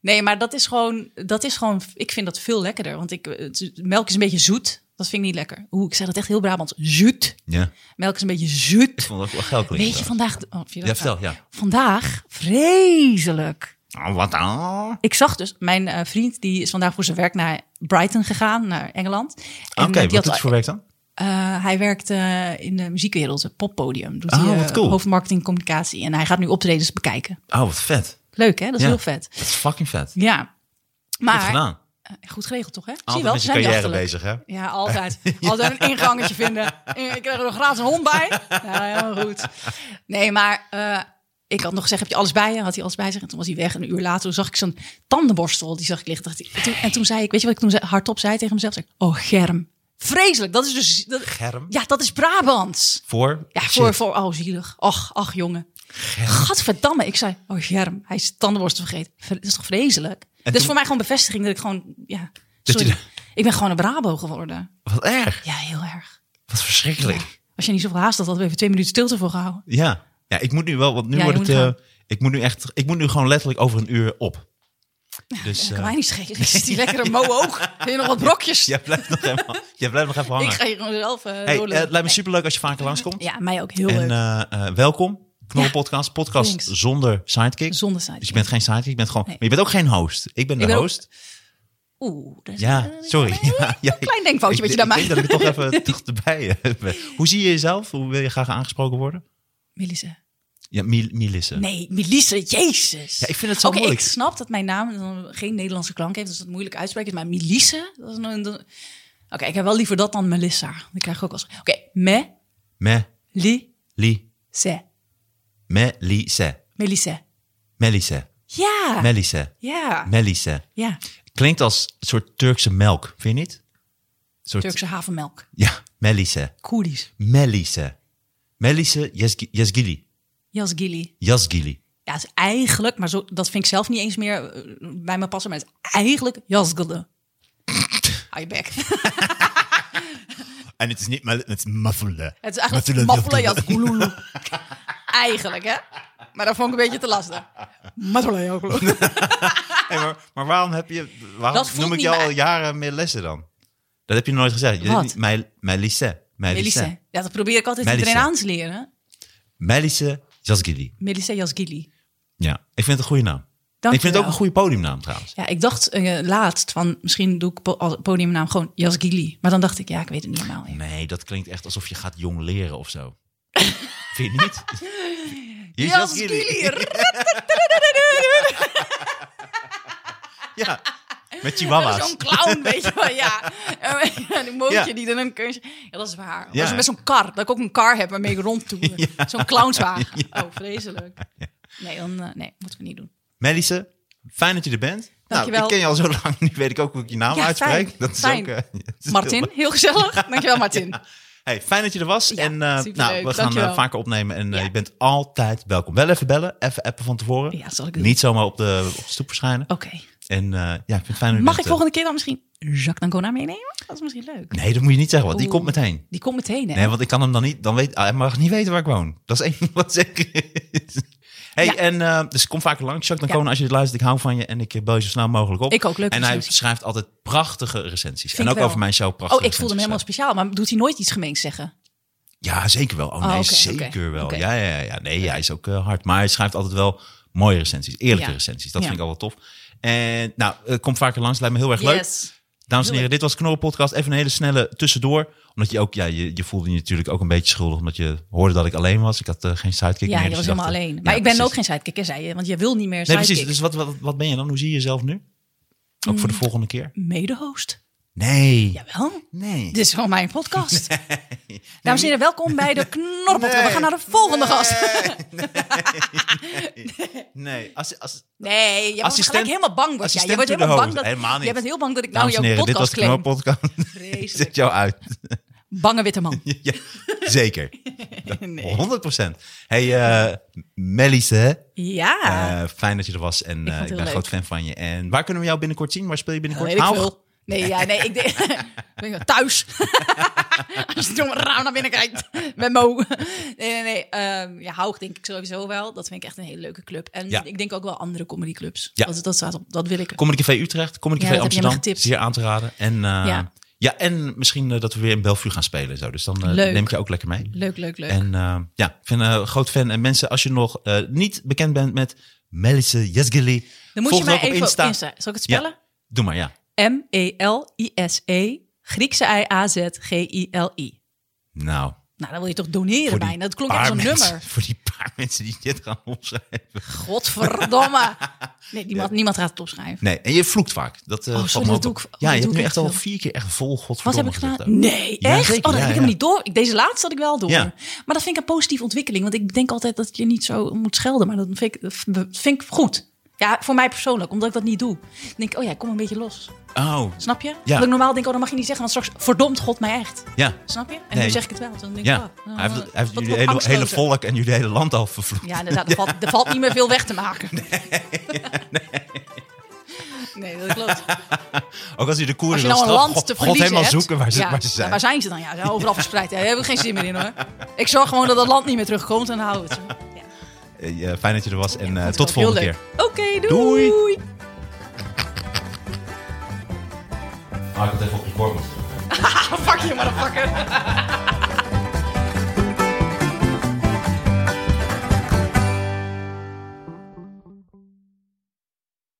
Nee, maar dat is, gewoon, dat is gewoon... Ik vind dat veel lekkerder. Want ik, het- melk is een beetje zoet. Dat vind ik niet lekker. Oeh, ik zeg dat echt heel Brabants. Zoet.
Ja.
Melk is een beetje
Ik
zoet.
vond dat ook wel geld klinken.
Weet je, vandaag... Oh, vind je dat
Ja, vertel,
nou?
ja.
Vandaag, vreselijk.
Oh, wat dan?
Ik zag dus, mijn eh, vriend die is vandaag voor zijn werk naar Brighton gegaan, naar Engeland. En,
Oké,
eh, die
wat
had-
is het voor werk dan?
eh, hij werkt eh, in de muziekwereld, het poppodium. Doet
Oh,
hij, eh,
wat cool.
Hoofdmarketing communicatie. En hij gaat nu optredens bekijken.
Oh, wat vet.
Leuk hè, dat is
Ja.
heel vet.
Dat is fucking vet.
Ja,
Goed
maar
gedaan.
eh, goed geregeld toch hè? Zie je
Altijd
wel,
met je
zijn die
carrière
achterlijk.
bezig, hè?
Ja, altijd. Altijd een ingangetje vinden. Ik krijg er nog gratis een hond bij. Ja, helemaal goed. Nee, maar eh, ik had nog gezegd, heb je alles bij je? Had hij alles bij zich? En toen was hij weg. Een uur later toen zag ik zo'n tandenborstel. Die zag ik liggen. Dacht ik- en Toen, en toen zei ik, weet je wat ik toen zei- hardop zei tegen mezelf? Zeg, ik, oh, germ. Vreselijk. Dat is dus... Dat,
Germ?
Ja, dat is Brabants.
Voor?
Ja,
Shit.
voor, voor, oh zielig. Och, ach jongen. Gadverdamme. Ik zei, oh germ, hij is tandenborstel vergeten. Ver- Dat is toch vreselijk? dus
toen-
voor mij gewoon bevestiging dat ik gewoon, ja.
Dat je
Sorry.
de-
Ik ben gewoon een Brabo geworden.
Wat erg.
Ja, heel erg.
Wat verschrikkelijk.
Als je niet zoveel haast had, hadden we even twee minuten stilte voor gehouden.
Ja. Ja, ik moet nu wel, want nu
Ja, je
wordt het...
moet gaan.
eh, ik moet nu echt... Ik moet nu gewoon letterlijk over een uur op. Dus...
Kan
eh,
mij niet schelen. Is die lekkere mo ook? Heb je nog wat brokjes?
Jij blijft nog even, jij blijft nog even hangen.
ik ga hier gewoon zelf eh
Hey,
lullen.
eh, het lijkt me superleuk als je vaker langskomt.
Ja, mij ook heel
en
leuk.
eh, eh, welkom. Knorren Podcast. Podcast
thanks.
zonder sidekick.
Zonder sidekick.
Dus je bent geen sidekick. Je bent gewoon,
Nee.
Maar je bent ook geen host. Ik ben de
Ik ben ook-
host.
Oeh, dat is
Ja,
eh,
sorry. Ja, ja,
een klein denkfoutje
ik,
wat je daar
ik denk dat
maakt.
ik toch even toch erbij eh, ben. Hoe zie je jezelf? Hoe wil je graag aangesproken worden?
Melissa.
Ja, Mil- Milisse.
Nee, Melissa, jezus.
Ja, ik vind het zo
Oké,
moeilijk.
ik snap dat mijn naam dan geen Nederlandse klank heeft, dus dat het moeilijk uitspreken is. Maar Melissa, dat is nou een... Oké, ik heb wel liever dat dan Melissa. Die krijg ik ook wel eens. Oké,
Me,
Melissa.
li, melise.
Melissa.
Melise.
Ja.
Melise.
ja.
Melise.
ja.
Klinkt als een soort Turkse melk, vind je niet? Een soort,
Turkse havermelk.
Ja, melise.
Koerdisch.
Melise. Melise Yazgi- Yazgili.
Yazgili.
Yazgili.
Ja, het is eigenlijk, maar zo, dat vind ik zelf niet eens meer eh, bij me passen, maar het is eigenlijk Yazgili. Hou je bek.
En het is niet, het is muffelen.
Het is eigenlijk maffelen Yazgulu. Eigenlijk, hè? Maar dat vond ik een beetje te lastig. Maffelen Yazgulu.
maar, maar waarom heb je, waarom
Dat voelt
noem ik
niet
jou
waar.
al jaren meer lessen dan? Dat heb je nooit gezegd. Je
Wat?
hebt niet- Mijn, mijn lycée. Mijn
Melissa.
lycée.
Ja, dat probeer ik altijd
Melissa.
iedereen aan te leren.
Mijn lycée Yazgili.
Melissa Yazgili.
Ja, ik vind het een goede naam.
Dank
ik vind
je
het ook
wel.
een goede podiumnaam trouwens.
Ja, ik dacht eh, laatst van misschien doe ik po- als podiumnaam gewoon Yazgili. Maar dan dacht ik, ja, ik weet het niet helemaal. ja.
Nee, dat klinkt echt alsof je gaat jong leren of zo. vind je niet? Je
Yazgili.
Ja, met
Dat is
chihuahuas.
Zo'n clown, weet je wel, ja. En die mootje
Ja.
die dan een kunstje... Ja, dat is waar. Of
Ja.
als met zo'n kar, dat ik ook een kar heb waarmee ik rondtoer. Zo'n clownswagen. Oh, vreselijk. Nee, dan, eh, nee, moeten we niet doen.
Melisse, fijn dat je er bent.
Dankjewel.
Nou, ik ken je al zo lang, nu weet ik ook hoe ik je naam
Ja,
uitspreek.
fijn.
Dat is
Fijn.
ook, eh, het is heel
Martin, heel gezellig. Dankjewel, Martin.
Hey, fijn dat je er was.
Ja,
en eh,
superleuk.
nou, we gaan
Dankjewel.
eh, vaker opnemen. En eh,
Ja.
je bent altijd welkom. Wel even bellen, even appen van tevoren.
Ja, zal ik doen.
Niet zomaar op de, op de stoep verschijnen.
Oké.
En eh, ja, ik vind het fijn dat je
Mag
bent,
ik
eh.
volgende keer dan misschien Jacques D'Ancona meenemen? Dat is misschien leuk.
Nee, dat moet je niet zeggen, want die
Oeh.
komt meteen.
Die komt meteen, hè?
Nee, want ik kan hem dan niet. Dan weet, ah, hij mag niet weten waar ik woon. Dat is één ding wat zeker is. Hey,
Ja.
en eh, dus kom vaker langs, Jacques
Ja.
Dancona, als je dit luistert. Ik hou van je en ik eh, bel je zo snel mogelijk op.
Ik ook, leuke
En hij
recensies.
schrijft altijd prachtige recensies.
Vind
en
ik
ook
wel.
over mijn show prachtige
Oh, ik voelde hem
recensies
helemaal speciaal. Maar doet hij nooit iets gemeens zeggen?
Ja, zeker wel. Oh nee,
Oh, oké,
zeker
oké,
wel.
oké.
Ja, ja, ja. Nee, hij is ook eh, hard. Maar hij schrijft altijd wel mooie recensies. Eerlijke
Ja.
recensies. Dat
Ja.
vind ik altijd tof. En nou, eh, kom vaker langs. Lijkt me heel erg leuk.
Yes.
Dames en
Doe
heren, dit was Knorren Podcast. Even een hele snelle tussendoor. Omdat je ook, ja, je, je voelde je natuurlijk ook een beetje schuldig. Omdat je hoorde dat ik alleen was. Ik had eh, geen sidekick
Ja,
meer.
je
dus ik
was helemaal
dacht, eh,
alleen.
ja,
Maar ik ben
precies.
ook geen sidekick, hè, zei je. Want je wil niet meer
Nee,
sidekick. Mm.
precies. Dus wat, wat, wat ben je dan? Hoe zie je jezelf nu? Ook voor de volgende keer?
Mede-host.
dus- Nee.
Jawel.
Nee.
Dit is gewoon mijn podcast. Dames en heren, welkom bij de Knorpelpodcast. We gaan naar de volgende gast.
Nee. Als, als,
Nee, je wordt
Assistent-
gelijk helemaal bang. Word jij.
assistent
Je wordt
to the
helemaal bang
host.
dat,
Helemaal niet.
Je bent heel bang dat ik nou
dames en
jouw
heren, dit was
podcast
de
claim.
Knorren Podcast. Zet
Vreselijk.
jou uit.
Bange witte man.
Ja, zeker.
Nee.
100%. Hey, eh Melisse,
Ja.
eh, fijn dat je er was en eh,
Ah. het
ik,
heel
ben
leuk.
groot fan van je. En waar kunnen we jou binnenkort zien? Waar speel je
Dat
binnenkort?
Eh, weet ik
Haag?
veel. Nee, ja, nee, ik denk, ik denk thuis. Als je door mijn raam naar binnen kijkt met Mo. Nee, nee, nee. ehm, ja, Haug denk ik sowieso wel. Dat vind ik echt een hele leuke club. En
Ja.
ik denk ook wel andere comedyclubs.
Ja.
Dat, dat staat op. Dat wil ik.
Comedy Café Utrecht, Comedy
Ja,
Café
dat heb je me
Amsterdam,
getipt.
zeer aan te raden. En, eh, ja.
Ja.
en misschien eh, dat we weer in Bellevue gaan spelen en zo. Dus dan eh,
Leuk.
neem ik je ook lekker mee.
Leuk, leuk, leuk.
En eh, ja, ik ben een groot fan. En mensen, als je nog eh, niet bekend bent met Melisse Jesgely,
Dan moet
volg
je
haar
mij
ook
even
op Insta.
op Insta. Zal ik het spellen? E
Doe maar, ja.
M-E-L-I-S-E. E, Griekse I-A-Z-G-I-L-I.
Nou,
Nou, dan wil je toch doneren
voor die
bijna. Dat klonk
paar
als een
mensen-
nummer.
Voor die paar mensen die dit gaan opschrijven.
Godverdomme. Nee, niemand, niemand gaat het opschrijven.
Nee, en je vloekt vaak. Dat, eh
Oh, sorry,
valt me
dat
ook
doe
op.
ik-
Ja, je
dat
hebt
doe
nu
ik
echt
echt
al
veel.
vier keer echt vol godverdomme
Wat heb ik
gezegd
gedaan?
ook.
Nee,
Ja,
echt?
zeker,
oh, dat
ja,
heb ik
ja.
hem niet door. Ik, deze laatste had ik wel door.
Ja.
Maar dat vind ik een positieve ontwikkeling. Want ik denk altijd dat je niet zo moet schelden. Maar dat vind ik, dat vind ik goed. Ja, voor mij persoonlijk, omdat ik dat niet doe. Dan denk ik, oh ja, ik kom een beetje los.
Oh,
Snap je?
Ja.
Wat ik normaal denk, oh, dat mag je niet zeggen. Want straks verdomt God mij echt.
ja.
Snap je? En
Nee.
nu zeg ik het wel. Dus dan denk ik,
Ja,
oh,
hij heeft, hij heeft
wat
jullie
voor
hele, hele
angstloze.
volk en jullie hele land al vervloekt.
Ja, inderdaad. Er, Valt, er valt niet meer veel weg te maken. Nee, dat klopt.
Ook als je de
Als
koers
je
wil
nou een
straffen,
land
God-
te
God
verliezen
helemaal
hebt,
zoeken waar ze,
ja,
waar ze zijn.
ja, waar zijn ze dan? Ja, overal verspreid. Ja, daar heb ik geen zin meer in hoor. Ik zorg gewoon dat dat land niet meer terugkomt en dan houden we het. zo. Ja,
Eh, ja, fijn dat je er was en eh,
vond ik
tot
ook
volgende
heel
keer.
leuk. Oké,
Doei.
doei.
Ah, ik had even op je bord moeten
Fuck je, motherfucker.